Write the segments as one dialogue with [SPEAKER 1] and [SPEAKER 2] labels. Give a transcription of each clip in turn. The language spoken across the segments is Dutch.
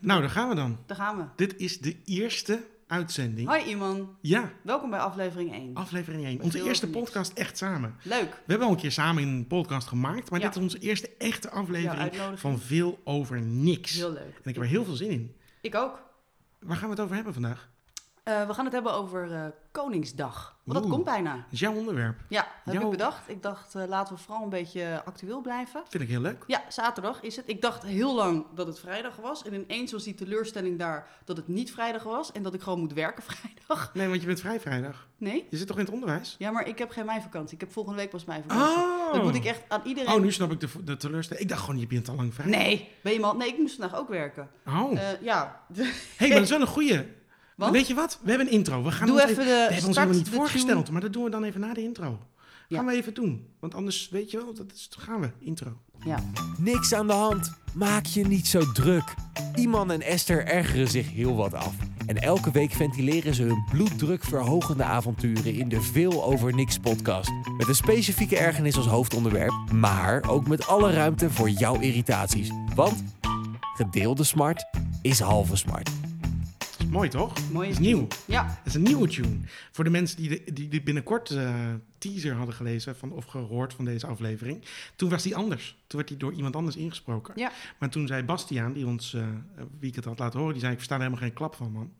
[SPEAKER 1] Nou, daar gaan we dan.
[SPEAKER 2] Daar gaan we.
[SPEAKER 1] Dit is de eerste uitzending.
[SPEAKER 2] Hoi Iman,
[SPEAKER 1] Ja,
[SPEAKER 2] welkom bij aflevering 1.
[SPEAKER 1] aflevering 1.
[SPEAKER 2] Met
[SPEAKER 1] Onze
[SPEAKER 2] heel
[SPEAKER 1] eerste
[SPEAKER 2] veel niks.
[SPEAKER 1] podcast echt samen.
[SPEAKER 2] Leuk.
[SPEAKER 1] We hebben al een keer samen een podcast gemaakt, maar
[SPEAKER 2] Ja.
[SPEAKER 1] dit is onze eerste echte
[SPEAKER 2] Jouw
[SPEAKER 1] aflevering
[SPEAKER 2] uitnodiging.
[SPEAKER 1] van Veel Over Niks.
[SPEAKER 2] Heel leuk.
[SPEAKER 1] En ik heb er heel veel zin in.
[SPEAKER 2] Ik ook.
[SPEAKER 1] Waar gaan we het over hebben vandaag?
[SPEAKER 2] Eh, we gaan het hebben over eh, Koningsdag. Want dat
[SPEAKER 1] Oeh.
[SPEAKER 2] komt bijna.
[SPEAKER 1] Dat is jouw onderwerp.
[SPEAKER 2] Ja, heb
[SPEAKER 1] Jou-
[SPEAKER 2] ik bedacht. Ik dacht, eh, laten we vooral een beetje actueel blijven.
[SPEAKER 1] Vind ik heel leuk.
[SPEAKER 2] Ja, zaterdag is het. Ik dacht heel lang dat het vrijdag was. En ineens was die teleurstelling daar dat het niet vrijdag was. En dat ik gewoon moet werken vrijdag.
[SPEAKER 1] Nee, want je bent vrij vrijdag.
[SPEAKER 2] Nee?
[SPEAKER 1] Je zit toch in het onderwijs?
[SPEAKER 2] Ja, maar ik heb geen meivakantie. Ik heb volgende week pas meivakantie.
[SPEAKER 1] Oh!
[SPEAKER 2] Dan moet ik echt aan iedereen...
[SPEAKER 1] Oh, nu snap ik de, de teleurstelling. Ik dacht gewoon, je bent al lang vrij.
[SPEAKER 2] Nee, ben je mal... Nee, ik moest vandaag ook werken.
[SPEAKER 1] Oh.
[SPEAKER 2] Eh, ja.
[SPEAKER 1] hey, maar dat is wel een goeie.
[SPEAKER 2] Want?
[SPEAKER 1] Weet je wat? We hebben een intro. We gaan
[SPEAKER 2] Doe
[SPEAKER 1] ons
[SPEAKER 2] even, de
[SPEAKER 1] We hebben ons
[SPEAKER 2] Eh, start,
[SPEAKER 1] helemaal niet
[SPEAKER 2] de tune.
[SPEAKER 1] voorgesteld, maar dat doen we dan even na de intro.
[SPEAKER 2] Ja.
[SPEAKER 1] Gaan we even doen. Want anders, weet je wel, dat is, gaan we. Intro.
[SPEAKER 2] Ja.
[SPEAKER 3] Niks aan de hand. Maak je niet zo druk. Iman en Esther ergeren zich heel wat af. En elke week ventileren ze hun bloeddrukverhogende avonturen in de Veel Over Niks podcast. Met een specifieke ergernis als hoofdonderwerp, maar ook met alle ruimte voor jouw irritaties. Want gedeelde smart is halve smart.
[SPEAKER 1] Dat is mooi, toch?
[SPEAKER 2] Mooi.
[SPEAKER 1] Dat is nieuw.
[SPEAKER 2] Ja,
[SPEAKER 1] Dat is een nieuwe tune. Voor de mensen die, de, die, die binnenkort eh, teaser hadden gelezen van, of gehoord van deze aflevering. Toen was die anders. Toen werd die door iemand anders ingesproken.
[SPEAKER 2] Ja.
[SPEAKER 1] Maar toen zei Bastiaan, die ons, eh, wie ik het had laten horen, die zei ik versta er helemaal geen klap van, man.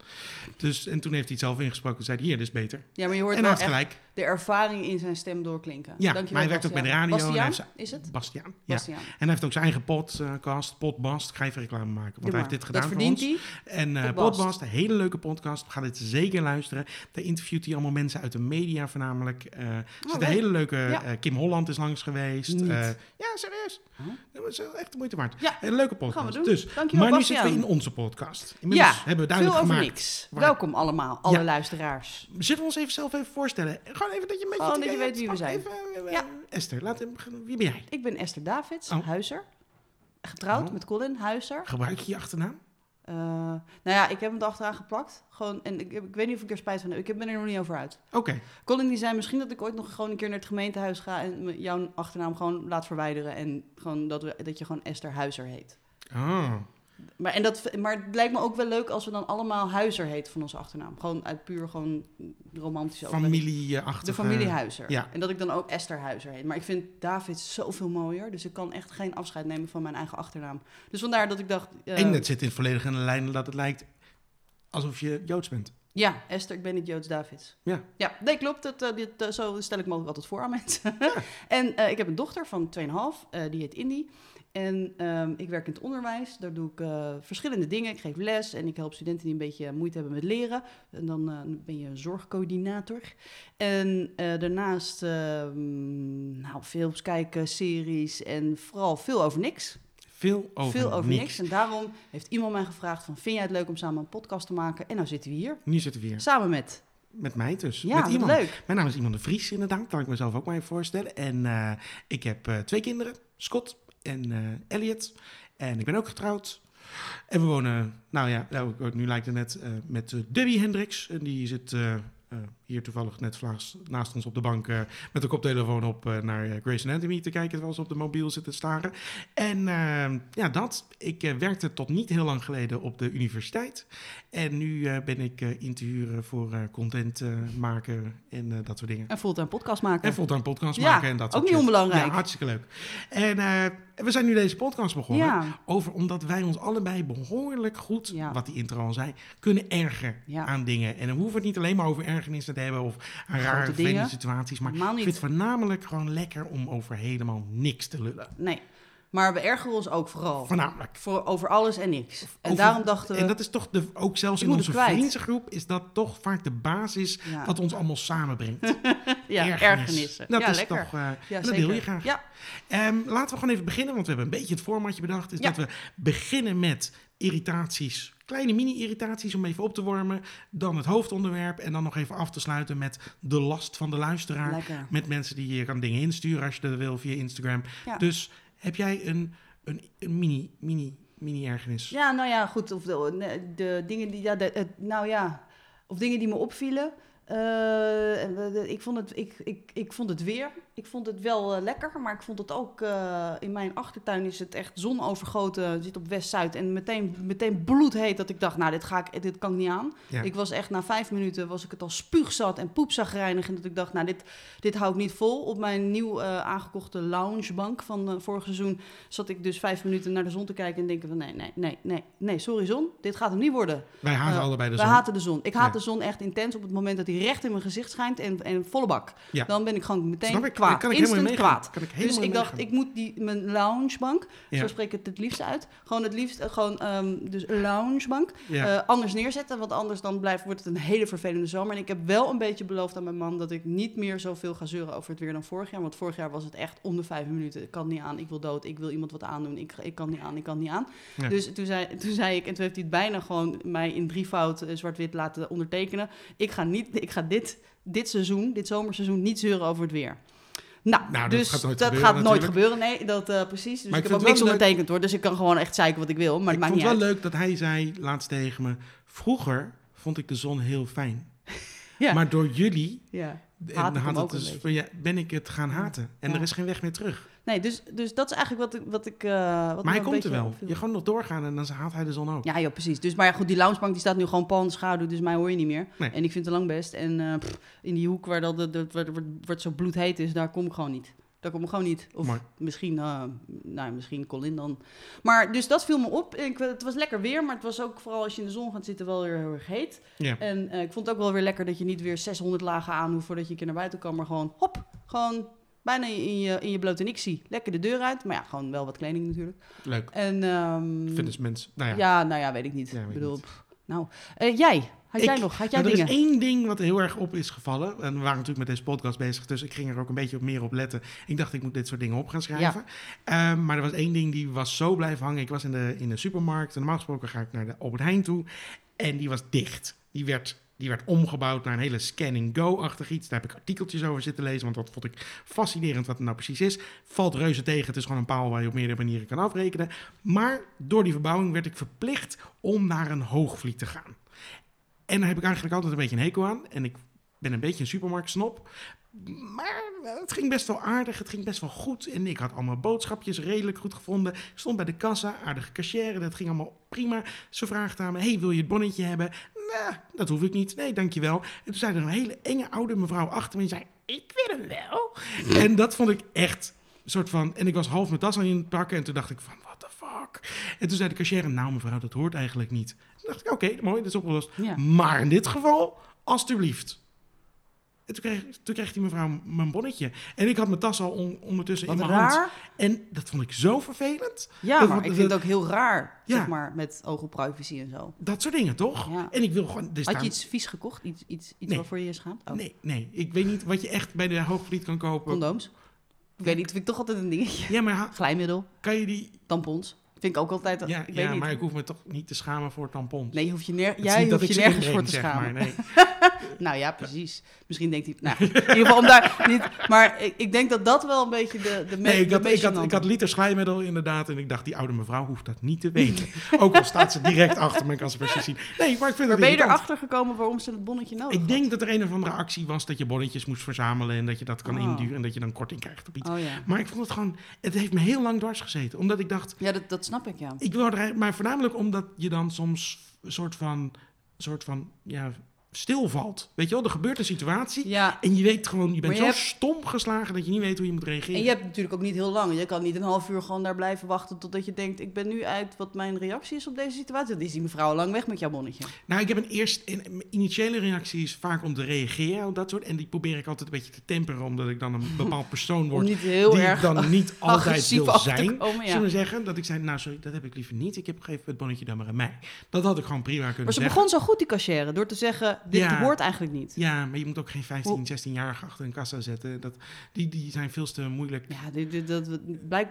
[SPEAKER 1] Dus, en toen heeft hij het zelf ingesproken. zei hij, hier, dit is beter.
[SPEAKER 2] ja maar je hoort
[SPEAKER 1] en hij
[SPEAKER 2] wel
[SPEAKER 1] had
[SPEAKER 2] echt
[SPEAKER 1] gelijk.
[SPEAKER 2] de ervaring in zijn stem doorklinken.
[SPEAKER 1] Ja,
[SPEAKER 2] Dankjewel,
[SPEAKER 1] maar hij werkt ook bij de radio en hij
[SPEAKER 2] Bastiaan, is
[SPEAKER 1] heeft
[SPEAKER 2] het?
[SPEAKER 1] Bastiaan. Ja.
[SPEAKER 2] Bastiaan.
[SPEAKER 1] En hij heeft ook zijn eigen podcast, Podbast. Ik ga even reclame maken, want
[SPEAKER 2] Doe
[SPEAKER 1] hij
[SPEAKER 2] maar.
[SPEAKER 1] heeft dit gedaan
[SPEAKER 2] Dat
[SPEAKER 1] voor
[SPEAKER 2] verdient
[SPEAKER 1] ons.
[SPEAKER 2] hij.
[SPEAKER 1] En eh
[SPEAKER 2] Podbast.
[SPEAKER 1] Podbast, een hele leuke podcast. Ga dit zeker luisteren. Daar interviewt hij allemaal mensen uit de media voornamelijk. Eh, er zit een
[SPEAKER 2] Oh, leuk.
[SPEAKER 1] hele leuke...
[SPEAKER 2] Ja.
[SPEAKER 1] eh, Kim Holland is langs geweest.
[SPEAKER 2] Niet.
[SPEAKER 1] Eh, ja, serieus.
[SPEAKER 2] Huh?
[SPEAKER 1] Dat was echt de moeite waard.
[SPEAKER 2] Ja.
[SPEAKER 1] Een leuke podcast.
[SPEAKER 2] Gaan we doen.
[SPEAKER 1] Dus,
[SPEAKER 2] Dankjewel,
[SPEAKER 1] maar nu
[SPEAKER 2] Bastiaan.
[SPEAKER 1] zitten we in onze podcast. Inmiddels hebben we duidelijk
[SPEAKER 2] veel over
[SPEAKER 1] gemaakt.
[SPEAKER 2] niks.
[SPEAKER 1] waar-
[SPEAKER 2] Welkom allemaal, alle
[SPEAKER 1] Ja.
[SPEAKER 2] luisteraars.
[SPEAKER 1] Zullen we ons even zelf even voorstellen? Gewoon even dat je een beetje...
[SPEAKER 2] Gewoon dat
[SPEAKER 1] het
[SPEAKER 2] je
[SPEAKER 1] idee
[SPEAKER 2] weet wie
[SPEAKER 1] hebt.
[SPEAKER 2] we
[SPEAKER 1] Wacht Even, eh,
[SPEAKER 2] Ja.
[SPEAKER 1] Esther, laat hem, wie ben jij?
[SPEAKER 2] Ik ben Esther Davids,
[SPEAKER 1] Oh.
[SPEAKER 2] huizer. Getrouwd
[SPEAKER 1] Oh.
[SPEAKER 2] met Colin, huizer.
[SPEAKER 1] Gebruik je je achternaam?
[SPEAKER 2] Eh, nou ja, ik heb hem erachteraan geplakt. Gewoon, en ik, heb- ik weet niet of ik er spijt van heb. Ik heb- ben er nog niet over uit.
[SPEAKER 1] Oké.
[SPEAKER 2] Colin die zei misschien dat ik ooit nog gewoon een keer naar het gemeentehuis ga... en me- jouw achternaam gewoon laat verwijderen... en gewoon dat, we, dat je gewoon Esther Huizer heet.
[SPEAKER 1] Oh.
[SPEAKER 2] Maar, en dat, maar het lijkt me ook wel leuk als we dan allemaal Huizer heten van onze achternaam. Gewoon uit puur gewoon romantische overweging.
[SPEAKER 1] familieachtige...
[SPEAKER 2] De familie Huizer.
[SPEAKER 1] ja.
[SPEAKER 2] En dat ik dan ook Esther Huizer heet. Maar ik vind David zoveel mooier. Dus ik kan echt geen afscheid nemen van mijn eigen achternaam. Dus vandaar dat ik dacht... eh,
[SPEAKER 1] En het zit in volledig in de lijn dat het lijkt alsof je Joods bent.
[SPEAKER 2] Ja, Esther, ik ben niet Joods Davids.
[SPEAKER 1] Ja.
[SPEAKER 2] Ja, nee, klopt. Dat, eh, dit, eh, zo stel ik me ook altijd voor aan mensen. en eh, ik heb een dochter van 2,5, eh, die heet Indy. En ehm, ik werk in het onderwijs. Daar doe ik eh, verschillende dingen. Ik geef les en ik help studenten die een beetje moeite hebben met leren. En dan eh, ben je een zorgcoördinator. En eh, daarnaast ehm, nou, films kijken, series en vooral veel over niks
[SPEAKER 1] Veel over,
[SPEAKER 2] veel over niks.
[SPEAKER 1] niks.
[SPEAKER 2] En daarom heeft iemand mij gevraagd van... vind jij het leuk om samen een podcast te maken? En nou zitten we hier.
[SPEAKER 1] Nu zitten we weer.
[SPEAKER 2] Samen met...
[SPEAKER 1] Met mij dus.
[SPEAKER 2] Ja,
[SPEAKER 1] Met
[SPEAKER 2] wat
[SPEAKER 1] iemand.
[SPEAKER 2] leuk.
[SPEAKER 1] Mijn naam is Iman de Vries inderdaad. Kan ik mezelf ook maar even voorstellen. En eh, ik heb eh, twee kinderen. Scott en eh, Elliot. En ik ben ook getrouwd. En we wonen, nou ja, nou, nu lijkt het net eh, met eh, Debbie Hendricks. En die zit eh, eh, hier toevallig net vlaas, naast ons op de bank eh, met een koptelefoon op eh, naar eh, Grey's Anatomy te kijken. Terwijl ze op de mobiel zit te staren. En eh, ja, dat. Ik eh, werkte tot niet heel lang geleden op de universiteit. En nu eh, ben ik eh, in te huren voor eh, content eh, maken en eh, dat soort dingen.
[SPEAKER 2] En fulltime podcast maken.
[SPEAKER 1] En fulltime podcast
[SPEAKER 2] Ja,
[SPEAKER 1] maken en dat
[SPEAKER 2] ook
[SPEAKER 1] soort
[SPEAKER 2] niet
[SPEAKER 1] shit.
[SPEAKER 2] onbelangrijk.
[SPEAKER 1] Ja, hartstikke leuk. En eh, we zijn nu deze podcast begonnen.
[SPEAKER 2] Ja.
[SPEAKER 1] Over omdat wij ons allebei behoorlijk goed,
[SPEAKER 2] Ja.
[SPEAKER 1] wat die intro al zei, kunnen ergeren
[SPEAKER 2] Ja.
[SPEAKER 1] aan dingen. En dan hoeven we het niet alleen maar over ergernissen te hebben of aan
[SPEAKER 2] Grote
[SPEAKER 1] rare vreemde
[SPEAKER 2] dingen.
[SPEAKER 1] situaties. Maar ik
[SPEAKER 2] Helemaal
[SPEAKER 1] vind
[SPEAKER 2] niet.
[SPEAKER 1] het voornamelijk gewoon lekker om over helemaal niks te lullen.
[SPEAKER 2] Nee. Maar we ergeren ons ook vooral.
[SPEAKER 1] Voornamelijk.
[SPEAKER 2] Voor, over alles en niks. En
[SPEAKER 1] Over-
[SPEAKER 2] daarom dachten we...
[SPEAKER 1] En dat is toch de, ook zelfs
[SPEAKER 2] Ik
[SPEAKER 1] in
[SPEAKER 2] moet het
[SPEAKER 1] onze
[SPEAKER 2] kwijt.
[SPEAKER 1] vriendengroep is dat toch vaak de basis
[SPEAKER 2] Ja.
[SPEAKER 1] wat ons allemaal samenbrengt.
[SPEAKER 2] ja,
[SPEAKER 1] Ergernis.
[SPEAKER 2] ergernissen.
[SPEAKER 1] Dat
[SPEAKER 2] ja,
[SPEAKER 1] is
[SPEAKER 2] lekker.
[SPEAKER 1] toch. eh,
[SPEAKER 2] ja,
[SPEAKER 1] dat wil je graag.
[SPEAKER 2] Ja,
[SPEAKER 1] Ehm, laten we gewoon even beginnen, want we hebben een beetje het formatje bedacht. Is
[SPEAKER 2] Ja.
[SPEAKER 1] dat we beginnen met irritaties, kleine mini-irritaties om even op te warmen. Dan het hoofdonderwerp en dan nog even af te sluiten met de last van de luisteraar.
[SPEAKER 2] lekker.
[SPEAKER 1] Met mensen die je kan dingen insturen als je dat wil via Instagram.
[SPEAKER 2] Ja.
[SPEAKER 1] Dus heb jij een, een, een mini, mini, mini ergernis?
[SPEAKER 2] Ja, nou ja, goed. Of de, ne- de dingen die... Ja, de, het- nou ja. eh, Of dingen die me opvielen. Eh, en we- de- ik, vond het, ik, ik, ik vond het weer Ik vond het wel eh, lekker, maar ik vond het ook... eh, in mijn achtertuin is het echt zonovergoten. Het zit op West-Zuid en meteen, meteen bloedheet dat ik dacht... Nou, dit, ga ik, dit kan ik niet aan.
[SPEAKER 1] Ja.
[SPEAKER 2] Ik was echt na vijf minuten was ik het al spuugzat en poepzagrijnig. En dat ik dacht, nou, dit, dit hou ik niet vol. Op mijn nieuw eh, aangekochte loungebank van eh, vorig seizoen... zat ik dus vijf minuten naar de zon te kijken en denken van... Nee, nee, nee, nee, nee, sorry zon. Dit gaat hem niet worden.
[SPEAKER 1] Wij haten
[SPEAKER 2] Eh,
[SPEAKER 1] allebei de
[SPEAKER 2] We
[SPEAKER 1] zon.
[SPEAKER 2] haten de zon. Ik haat
[SPEAKER 1] Nee.
[SPEAKER 2] de zon echt intens op het moment dat hij recht in mijn gezicht schijnt en, en volle bak.
[SPEAKER 1] Ja.
[SPEAKER 2] Dan ben ik gewoon meteen
[SPEAKER 1] Snap ik?
[SPEAKER 2] kwaad.
[SPEAKER 1] Daar Kan ik
[SPEAKER 2] Instant
[SPEAKER 1] helemaal in meegaan.
[SPEAKER 2] kwaad.
[SPEAKER 1] Kan ik
[SPEAKER 2] Dus
[SPEAKER 1] helemaal in
[SPEAKER 2] ik dacht,
[SPEAKER 1] meegaan.
[SPEAKER 2] ik moet die, mijn loungebank,
[SPEAKER 1] Ja.
[SPEAKER 2] zo spreek ik het het liefst uit, gewoon het liefst, eh, gewoon, ehm, dus loungebank,
[SPEAKER 1] Ja.
[SPEAKER 2] eh, anders neerzetten. Want anders dan blijft, wordt het een hele vervelende zomer. En ik heb wel een beetje beloofd aan mijn man dat ik niet meer zoveel ga zeuren over het weer dan vorig jaar. Want vorig jaar was het echt om de vijf minuten. Ik kan niet aan, ik wil dood, ik wil iemand wat aandoen. Ik, ik kan niet aan, ik kan niet aan.
[SPEAKER 1] Ja.
[SPEAKER 2] Dus toen zei, toen zei ik, en toen heeft hij het bijna gewoon mij in drievoud eh, zwart-wit laten ondertekenen. Ik ga, niet, ik ga dit, dit seizoen, dit zomerseizoen, niet zeuren over het weer. Nou,
[SPEAKER 1] Nou, dat
[SPEAKER 2] dus
[SPEAKER 1] gaat nooit
[SPEAKER 2] dat
[SPEAKER 1] gebeuren
[SPEAKER 2] gaat nooit
[SPEAKER 1] natuurlijk.
[SPEAKER 2] gebeuren. Nee, dat eh, precies. Dus
[SPEAKER 1] Maar
[SPEAKER 2] ik
[SPEAKER 1] ik
[SPEAKER 2] heb ook
[SPEAKER 1] vind
[SPEAKER 2] niks
[SPEAKER 1] het wel
[SPEAKER 2] ondertekend hoor. Dus ik kan gewoon echt zeiken wat ik wil. Maar
[SPEAKER 1] ik
[SPEAKER 2] het maakt
[SPEAKER 1] vond
[SPEAKER 2] niet
[SPEAKER 1] het
[SPEAKER 2] uit.
[SPEAKER 1] wel leuk dat hij zei laatst tegen me... Vroeger vond ik de zon heel fijn.
[SPEAKER 2] Ja.
[SPEAKER 1] Maar door jullie
[SPEAKER 2] Ja.
[SPEAKER 1] en
[SPEAKER 2] Haat ik hem
[SPEAKER 1] haat het
[SPEAKER 2] ook een
[SPEAKER 1] dus-
[SPEAKER 2] beetje.
[SPEAKER 1] ja, ben ik het gaan haten. En
[SPEAKER 2] Ja.
[SPEAKER 1] er is geen weg meer terug.
[SPEAKER 2] Nee, dus, dus dat is eigenlijk wat ik. Wat ik eh, wat me
[SPEAKER 1] maar hij
[SPEAKER 2] een
[SPEAKER 1] komt
[SPEAKER 2] beetje
[SPEAKER 1] er wel.
[SPEAKER 2] opviel.
[SPEAKER 1] Je gewoon nog doorgaan en dan haalt hij de zon ook.
[SPEAKER 2] Ja, ja, precies. Dus, maar ja, goed, die loungebank die staat nu gewoon pal in de schaduw, dus mij hoor je niet meer.
[SPEAKER 1] Nee.
[SPEAKER 2] En ik vind het lang best. En eh, pff, in die hoek waar, dat, dat, dat- waar, waar- waar het zo bloedheet is, daar kom ik gewoon niet. Daar kom ik gewoon niet. Of
[SPEAKER 1] Mooi.
[SPEAKER 2] misschien, eh nou, ja, misschien Colin dan. Maar dus dat viel me op. Ik, het was lekker weer, maar het was ook vooral als je in de zon gaat zitten wel weer heel erg heet.
[SPEAKER 1] Ja.
[SPEAKER 2] En eh, ik vond het ook wel weer lekker dat je niet weer 600 lagen aan hoeft voordat je een keer naar buiten kan. Maar gewoon hop, gewoon bijna in je, in je blote nictie. Lekker de deur uit. Maar ja, gewoon wel wat kleding natuurlijk.
[SPEAKER 1] Leuk.
[SPEAKER 2] En, ehm,
[SPEAKER 1] Vinden ze mensen. Nou
[SPEAKER 2] ja.
[SPEAKER 1] ja.
[SPEAKER 2] nou ja, weet ik niet.
[SPEAKER 1] Ja, weet
[SPEAKER 2] ik
[SPEAKER 1] ik
[SPEAKER 2] bedoel,
[SPEAKER 1] niet.
[SPEAKER 2] pff, nou. Eh, jij, had jij
[SPEAKER 1] Ik?
[SPEAKER 2] nog? Had jij
[SPEAKER 1] Nou, er
[SPEAKER 2] dingen?
[SPEAKER 1] is één ding wat heel erg op is gevallen. En we waren natuurlijk met deze podcast bezig, dus ik ging er ook een beetje op meer op letten. Ik dacht, ik moet dit soort dingen op gaan schrijven. Ehm, maar er was één ding die was zo blijven hangen. Ik was in de, in de supermarkt. En normaal gesproken ga ik naar de Albert Heijn toe. En die was dicht. Die werd, die werd omgebouwd naar een hele scan-and-go-achtig iets. Daar heb ik artikeltjes over zitten lezen, want dat vond ik fascinerend wat het nou precies is. Valt reuze tegen. Het is gewoon een paal waar je op meerdere manieren kan afrekenen. Maar door die verbouwing werd ik verplicht om naar een hoogvliet te gaan. En daar heb ik eigenlijk altijd een beetje een hekel aan. En ik ben een beetje een supermarktsnop. Maar het ging best wel aardig, het ging best wel goed. En ik had allemaal boodschapjes redelijk goed gevonden. Ik stond bij de kassa, aardige cashier, dat ging allemaal prima. Ze vraagt aan me, hey, wil je het bonnetje hebben? Nou, dat hoef ik niet. Nee, dankjewel. En toen zei er een hele enge oude mevrouw achter me en zei, ik wil hem wel. En dat vond ik echt soort van... En ik was half mijn tas aan in het pakken en toen dacht ik van, what the fuck? En toen zei de cashier, nou mevrouw, dat hoort eigenlijk niet. Toen dacht ik, oké, mooi, dat is opgelost.
[SPEAKER 2] Ja.
[SPEAKER 1] Maar in dit geval, alstublieft. En toen kreeg, toen kreeg die mevrouw m- mijn bonnetje. En ik had mijn tas al on- ondertussen
[SPEAKER 2] Wat
[SPEAKER 1] in mijn hand.
[SPEAKER 2] raar.
[SPEAKER 1] En dat vond ik zo vervelend.
[SPEAKER 2] Ja,
[SPEAKER 1] Dat
[SPEAKER 2] maar
[SPEAKER 1] vond-
[SPEAKER 2] ik vind het
[SPEAKER 1] dat-
[SPEAKER 2] ook heel raar,
[SPEAKER 1] Ja.
[SPEAKER 2] zeg maar, met oog op privacy en zo.
[SPEAKER 1] Dat soort dingen, toch?
[SPEAKER 2] Ja.
[SPEAKER 1] En ik wil gewoon... dus
[SPEAKER 2] Had
[SPEAKER 1] daar-
[SPEAKER 2] je iets vies gekocht? Iets, iets, iets
[SPEAKER 1] Nee.
[SPEAKER 2] waarvoor je je schaamt? Oh,
[SPEAKER 1] Nee, nee. Ik weet niet wat je echt bij de Hoogvliet kan kopen.
[SPEAKER 2] Condooms? Ik weet niet, vind ik toch altijd een dingetje.
[SPEAKER 1] Ja, maar ha-
[SPEAKER 2] Glijmiddel,
[SPEAKER 1] kan je die...
[SPEAKER 2] tampons. Vind ik ook altijd,
[SPEAKER 1] Ja,
[SPEAKER 2] ik
[SPEAKER 1] ja,
[SPEAKER 2] weet niet.
[SPEAKER 1] maar ik hoef me toch niet te schamen voor tampons.
[SPEAKER 2] Nee, je hoeft je ner-
[SPEAKER 1] Het is
[SPEAKER 2] jij
[SPEAKER 1] niet dat
[SPEAKER 2] hoeft je
[SPEAKER 1] ik ze
[SPEAKER 2] nergens
[SPEAKER 1] inbreng,
[SPEAKER 2] voor te
[SPEAKER 1] zeg
[SPEAKER 2] schamen.
[SPEAKER 1] maar, nee.
[SPEAKER 2] Nou ja, precies. Misschien denkt hij... Nou, in ieder geval om daar niet... Maar ik, ik denk dat dat wel een beetje de, de, me-
[SPEAKER 1] Nee, ik
[SPEAKER 2] de
[SPEAKER 1] had,
[SPEAKER 2] meest
[SPEAKER 1] ik, had, ik
[SPEAKER 2] gênante-
[SPEAKER 1] had liters glijmiddel inderdaad. En ik dacht, die oude mevrouw hoeft dat niet te weten. Ook al staat ze direct achter me en kan ze precies zien. Nee, maar ik vind
[SPEAKER 2] Maar
[SPEAKER 1] dat
[SPEAKER 2] ben je
[SPEAKER 1] irritant.
[SPEAKER 2] erachter gekomen waarom ze het bonnetje nodig
[SPEAKER 1] Ik denk dat er een of andere actie was dat je bonnetjes moest verzamelen. En dat je dat kan
[SPEAKER 2] Oh.
[SPEAKER 1] induren en dat je dan korting krijgt op iets.
[SPEAKER 2] had? Oh ja.
[SPEAKER 1] Maar ik vond het gewoon... Het heeft me heel lang dwars gezeten. Omdat ik dacht...
[SPEAKER 2] Ja, dat, dat snap ik, ja.
[SPEAKER 1] Ik wil er, eigenlijk- maar voornamelijk omdat je dan soms een soort van, soort van ja, stilvalt. Weet je wel, er gebeurt een situatie
[SPEAKER 2] Ja,
[SPEAKER 1] en je weet gewoon, je bent
[SPEAKER 2] je
[SPEAKER 1] zo
[SPEAKER 2] hebt-
[SPEAKER 1] stom geslagen dat je niet weet hoe je moet reageren.
[SPEAKER 2] en je hebt natuurlijk ook niet heel lang. Je kan niet een half uur gewoon daar blijven wachten totdat je denkt... ik ben nu uit wat mijn reactie is op deze situatie. Dan is die mevrouw al lang weg met jouw bonnetje.
[SPEAKER 1] Nou, ik heb een eerst, een- mijn initiële reactie is vaak om te reageren op dat soort. En die probeer ik altijd een beetje te temperen, omdat ik dan een bepaald persoon
[SPEAKER 2] Om
[SPEAKER 1] word.
[SPEAKER 2] niet heel
[SPEAKER 1] die ik
[SPEAKER 2] erg
[SPEAKER 1] dan niet altijd
[SPEAKER 2] agressief
[SPEAKER 1] wil
[SPEAKER 2] af te
[SPEAKER 1] zijn.
[SPEAKER 2] komen, ja.
[SPEAKER 1] Zullen we zeggen dat ik zei, nou sorry, dat heb ik liever niet. Ik heb gegeven het bonnetje dan maar aan mij. Dat had ik gewoon prima kunnen
[SPEAKER 2] Maar ze
[SPEAKER 1] zeggen.
[SPEAKER 2] begon zo goed, die cashier, door te zeggen... dit
[SPEAKER 1] Ja.
[SPEAKER 2] hoort eigenlijk niet.
[SPEAKER 1] Ja, maar je moet ook geen 15,
[SPEAKER 2] Hoe-
[SPEAKER 1] 16-jarigen achter een kassa zetten. Dat, die, die zijn veel te moeilijk
[SPEAKER 2] Ja, dit, dit- dat,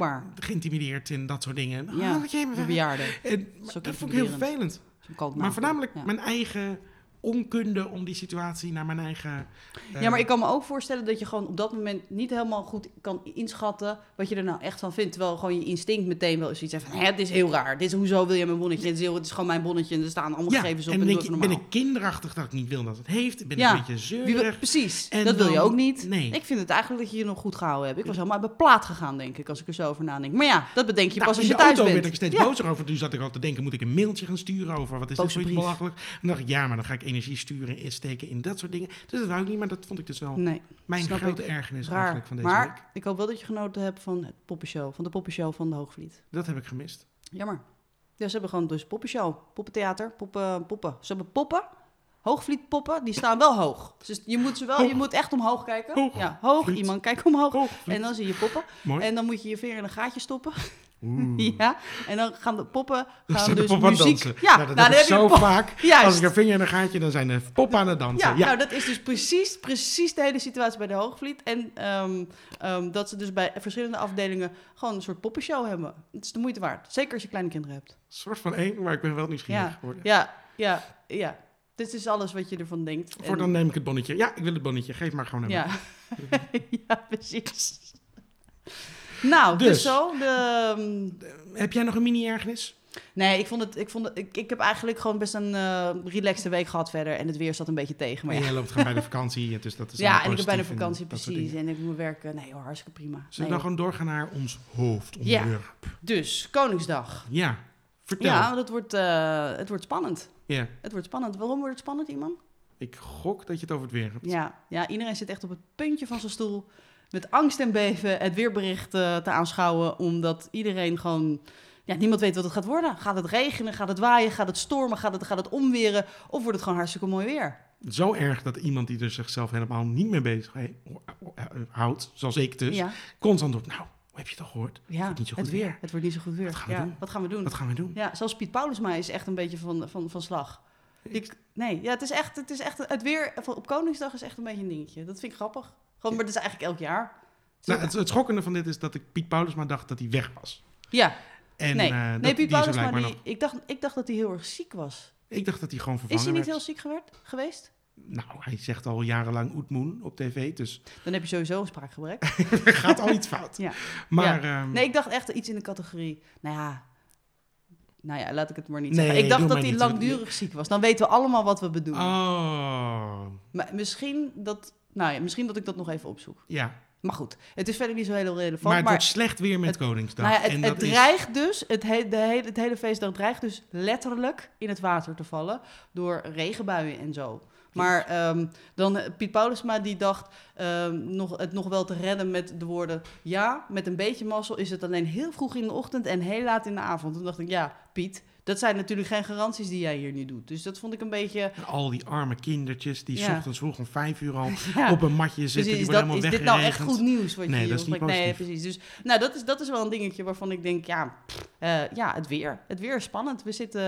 [SPEAKER 2] blijkbaar.
[SPEAKER 1] geïntimideerd en dat soort dingen. Ah,
[SPEAKER 2] Ja,
[SPEAKER 1] wat jij me
[SPEAKER 2] De
[SPEAKER 1] vraagt.
[SPEAKER 2] bejaarden.
[SPEAKER 1] En, maar
[SPEAKER 2] ook
[SPEAKER 1] dat vond ik heel
[SPEAKER 2] intimiderend.
[SPEAKER 1] vervelend.
[SPEAKER 2] Zo'n kalkmaker.
[SPEAKER 1] Maar voornamelijk
[SPEAKER 2] Ja.
[SPEAKER 1] mijn eigen onkunde om die situatie naar mijn eigen... eh,
[SPEAKER 2] Ja, maar ik kan me ook voorstellen dat je gewoon op dat moment niet helemaal goed kan inschatten wat je er nou echt van vindt. Terwijl gewoon je instinct meteen wel eens iets heeft van, hè, dit is heel raar. Dit is, hoezo wil je mijn bonnetje? Dit is, heel, het is gewoon mijn bonnetje en er staan allemaal
[SPEAKER 1] ja,
[SPEAKER 2] gegevens op.
[SPEAKER 1] en dan
[SPEAKER 2] doe
[SPEAKER 1] denk
[SPEAKER 2] even
[SPEAKER 1] je, ben
[SPEAKER 2] normaal.
[SPEAKER 1] ik kinderachtig dat ik niet wil dat het heeft? Ben
[SPEAKER 2] Ja,
[SPEAKER 1] ik een beetje
[SPEAKER 2] Wie wil-
[SPEAKER 1] zeurig?
[SPEAKER 2] precies,
[SPEAKER 1] En
[SPEAKER 2] dat wil je
[SPEAKER 1] dan-
[SPEAKER 2] ook niet.
[SPEAKER 1] nee.
[SPEAKER 2] Ik vind het eigenlijk dat je je nog goed gehouden hebt. Ik was helemaal uit mijn plaat gegaan, denk ik, als ik er zo over nadenk. Maar ja, dat bedenk je
[SPEAKER 1] Nou,
[SPEAKER 2] pas als
[SPEAKER 1] in
[SPEAKER 2] je
[SPEAKER 1] de
[SPEAKER 2] thuis
[SPEAKER 1] auto
[SPEAKER 2] bent.
[SPEAKER 1] werd ik steeds
[SPEAKER 2] Ja.
[SPEAKER 1] bozer over. Toen zat ik al te denken, moet ik een mailtje gaan sturen over? Wat is
[SPEAKER 2] Boze
[SPEAKER 1] dit voor iets
[SPEAKER 2] brief.
[SPEAKER 1] belachelijk? En dan dacht ik, ja, maar dan ga ik energie sturen en steken in dat soort dingen. Dus dat wou ik niet, maar dat vond ik dus wel
[SPEAKER 2] Nee,
[SPEAKER 1] mijn
[SPEAKER 2] Mm, snap
[SPEAKER 1] grote
[SPEAKER 2] ik.
[SPEAKER 1] ergernis
[SPEAKER 2] raar.
[SPEAKER 1] eigenlijk van deze
[SPEAKER 2] maar
[SPEAKER 1] week.
[SPEAKER 2] ik hoop wel dat je genoten hebt van het poppenshow, van de poppenshow van de Hoogvliet.
[SPEAKER 1] Dat heb ik gemist.
[SPEAKER 2] Jammer. Ja, ze hebben gewoon dus poppenshow, poppentheater, poppen, poppen. Ze hebben poppen, hoogvlietpoppen, die staan wel hoog. Dus je moet, ze wel, je
[SPEAKER 1] Hoog.
[SPEAKER 2] moet echt omhoog kijken.
[SPEAKER 1] Hoog.
[SPEAKER 2] Ja, hoog,
[SPEAKER 1] Vliet.
[SPEAKER 2] iemand kijkt omhoog.
[SPEAKER 1] Oh,
[SPEAKER 2] En dan zie je poppen.
[SPEAKER 1] mooi.
[SPEAKER 2] En dan moet je je vinger in een gaatje stoppen.
[SPEAKER 1] Oeh.
[SPEAKER 2] Ja. En dan gaan de poppen
[SPEAKER 1] Dan
[SPEAKER 2] gaan
[SPEAKER 1] zijn de
[SPEAKER 2] dus
[SPEAKER 1] poppen aan het
[SPEAKER 2] muziek.
[SPEAKER 1] dansen.
[SPEAKER 2] Ja,
[SPEAKER 1] Nou, dat
[SPEAKER 2] nou,
[SPEAKER 1] heb ik
[SPEAKER 2] dan
[SPEAKER 1] zo
[SPEAKER 2] heb je de
[SPEAKER 1] vaak.
[SPEAKER 2] pop- Juist.
[SPEAKER 1] Als ik een vinger in een gaatje, dan zijn de poppen aan het dansen.
[SPEAKER 2] Ja,
[SPEAKER 1] Ja,
[SPEAKER 2] nou dat is dus precies, precies de hele situatie bij de Hoogvliet. En ehm, ehm, dat ze dus bij verschillende afdelingen gewoon een soort poppenshow hebben. Het is de moeite waard. Zeker als je kleine kinderen hebt.
[SPEAKER 1] Een soort van één, maar ik ben wel nieuwsgierig geworden.
[SPEAKER 2] Ja, ja, ja. Dit is alles wat je ervan denkt. En-
[SPEAKER 1] Voor dan neem ik het bonnetje. Ja, ik wil het bonnetje. Geef maar gewoon aan
[SPEAKER 2] Ja. ja, precies. Nou, dus,
[SPEAKER 1] Dus.
[SPEAKER 2] zo. De, ehm,
[SPEAKER 1] me. Heb jij nog een mini-ergernis?
[SPEAKER 2] nee, ik vond het. Ik, vond het ik, ik heb eigenlijk gewoon best een eh relaxte week gehad verder. En het weer zat een beetje tegen. Maar
[SPEAKER 1] Maar
[SPEAKER 2] ja,
[SPEAKER 1] jij loopt gewoon bij de vakantie, dus dat is
[SPEAKER 2] ja
[SPEAKER 1] allemaal
[SPEAKER 2] en ik heb bij de
[SPEAKER 1] positief en
[SPEAKER 2] vakantie,
[SPEAKER 1] dat soort
[SPEAKER 2] precies.
[SPEAKER 1] dingen.
[SPEAKER 2] En ik moet werken. Nee hoor, hartstikke prima.
[SPEAKER 1] Zullen we
[SPEAKER 2] Nee.
[SPEAKER 1] dan gewoon doorgaan naar ons
[SPEAKER 2] Ja.
[SPEAKER 1] hoofdonderwerp?
[SPEAKER 2] Dus, Koningsdag.
[SPEAKER 1] Ja, vertel.
[SPEAKER 2] Ja,
[SPEAKER 1] Ja.
[SPEAKER 2] dat wordt, eh, het wordt spannend. Het wordt spannend. Waarom wordt het spannend, iemand?
[SPEAKER 1] Ik gok dat je het over het weer hebt.
[SPEAKER 2] Ja, ja, iedereen zit echt op het puntje van zijn stoel. Met angst en beven het weerbericht eh, te aanschouwen. Omdat iedereen gewoon. Ja, niemand weet wat het gaat worden. Gaat het regenen? Gaat het waaien? Gaat het stormen? Gaat het, gaat het omweren? Of wordt het gewoon hartstikke mooi weer?
[SPEAKER 1] Zo erg dat iemand die er zichzelf helemaal niet mee bezig he- houdt, zoals ik dus,
[SPEAKER 2] ja, Mm.
[SPEAKER 1] constant doet. Nou, hoe heb je toch gehoord?
[SPEAKER 2] ja
[SPEAKER 1] wordt niet zo goed
[SPEAKER 2] het
[SPEAKER 1] weer.
[SPEAKER 2] Het wordt niet zo goed weer.
[SPEAKER 1] Wat gaan we
[SPEAKER 2] ja,
[SPEAKER 1] doen?
[SPEAKER 2] Wat gaan we doen?
[SPEAKER 1] Wat gaan we doen? Nou,
[SPEAKER 2] Ja, zelfs Piet Paulusma is echt een beetje van, van, van slag. Die- nee, ja, het, is echt, het is echt. Het weer van- op Koningsdag is echt een beetje een dingetje. Dat vind ik grappig. Gewoon, maar dat is eigenlijk elk jaar.
[SPEAKER 1] Nou, het, het schokkende van dit is dat ik Piet Paulusma dacht dat hij weg was.
[SPEAKER 2] Ja,
[SPEAKER 1] En,
[SPEAKER 2] nee,
[SPEAKER 1] eh, dat-
[SPEAKER 2] nee Piet
[SPEAKER 1] die is er
[SPEAKER 2] Paulus, maar
[SPEAKER 1] blijkbaar
[SPEAKER 2] die, ik, dacht, ik dacht dat hij heel erg ziek was.
[SPEAKER 1] nog- Ik dacht dat hij gewoon
[SPEAKER 2] Is
[SPEAKER 1] vervangen
[SPEAKER 2] hij niet heel
[SPEAKER 1] werd.
[SPEAKER 2] ziek gewerd, geweest?
[SPEAKER 1] Nou, hij zegt al jarenlang Oetmoen op tv, dus
[SPEAKER 2] Dan heb je sowieso een spraakgebrek.
[SPEAKER 1] er gaat al iets fout.
[SPEAKER 2] Ja.
[SPEAKER 1] Maar ehm,
[SPEAKER 2] Nee, ik dacht echt iets in de categorie. Nou ja, nou ja laat ik het maar niet
[SPEAKER 1] Nee,
[SPEAKER 2] zeggen. Ik
[SPEAKER 1] doe
[SPEAKER 2] dacht dat
[SPEAKER 1] maar
[SPEAKER 2] hij
[SPEAKER 1] niet. Ah.
[SPEAKER 2] langdurig ziek was. Dan weten we allemaal wat we bedoelen.
[SPEAKER 1] oh,
[SPEAKER 2] Maar misschien dat, nou ja, misschien dat ik dat nog even opzoek.
[SPEAKER 1] ja.
[SPEAKER 2] Maar goed, het is verder niet zo heel relevant.
[SPEAKER 1] Maar
[SPEAKER 2] Maar,
[SPEAKER 1] het wordt slecht weer met
[SPEAKER 2] het-
[SPEAKER 1] Koningsdag.
[SPEAKER 2] nou ja, het,
[SPEAKER 1] en
[SPEAKER 2] het
[SPEAKER 1] dat is-
[SPEAKER 2] dreigt dus, het, he- de hele, het hele feestdag dreigt dus letterlijk in het water te vallen door regenbuien en zo. Maar ehm, dan eh, Piet Paulusma die dacht ehm, nog, het nog wel te redden met de woorden... ja, met een beetje mazzel is het alleen heel vroeg in de ochtend en heel laat in de avond. Toen dacht ik, ja, Piet, dat zijn natuurlijk geen garanties die jij hier nu doet. Dus dat vond ik een beetje...
[SPEAKER 1] En al die arme kindertjes die
[SPEAKER 2] Ja.
[SPEAKER 1] ochtends vroeg om vijf uur al
[SPEAKER 2] Ja.
[SPEAKER 1] op een matje
[SPEAKER 2] Dus
[SPEAKER 1] zitten.
[SPEAKER 2] is,
[SPEAKER 1] die
[SPEAKER 2] dat,
[SPEAKER 1] worden
[SPEAKER 2] is
[SPEAKER 1] helemaal
[SPEAKER 2] dit nou echt goed
[SPEAKER 1] weggeregend.
[SPEAKER 2] nieuws wat je
[SPEAKER 1] Nee,
[SPEAKER 2] hier
[SPEAKER 1] dat is
[SPEAKER 2] hoort?
[SPEAKER 1] niet
[SPEAKER 2] Nee,
[SPEAKER 1] positief.
[SPEAKER 2] precies. Dus, nou, dat is, dat is wel een dingetje waarvan ik denk, ja, pff, eh, ja het weer. Het weer is spannend. We zitten,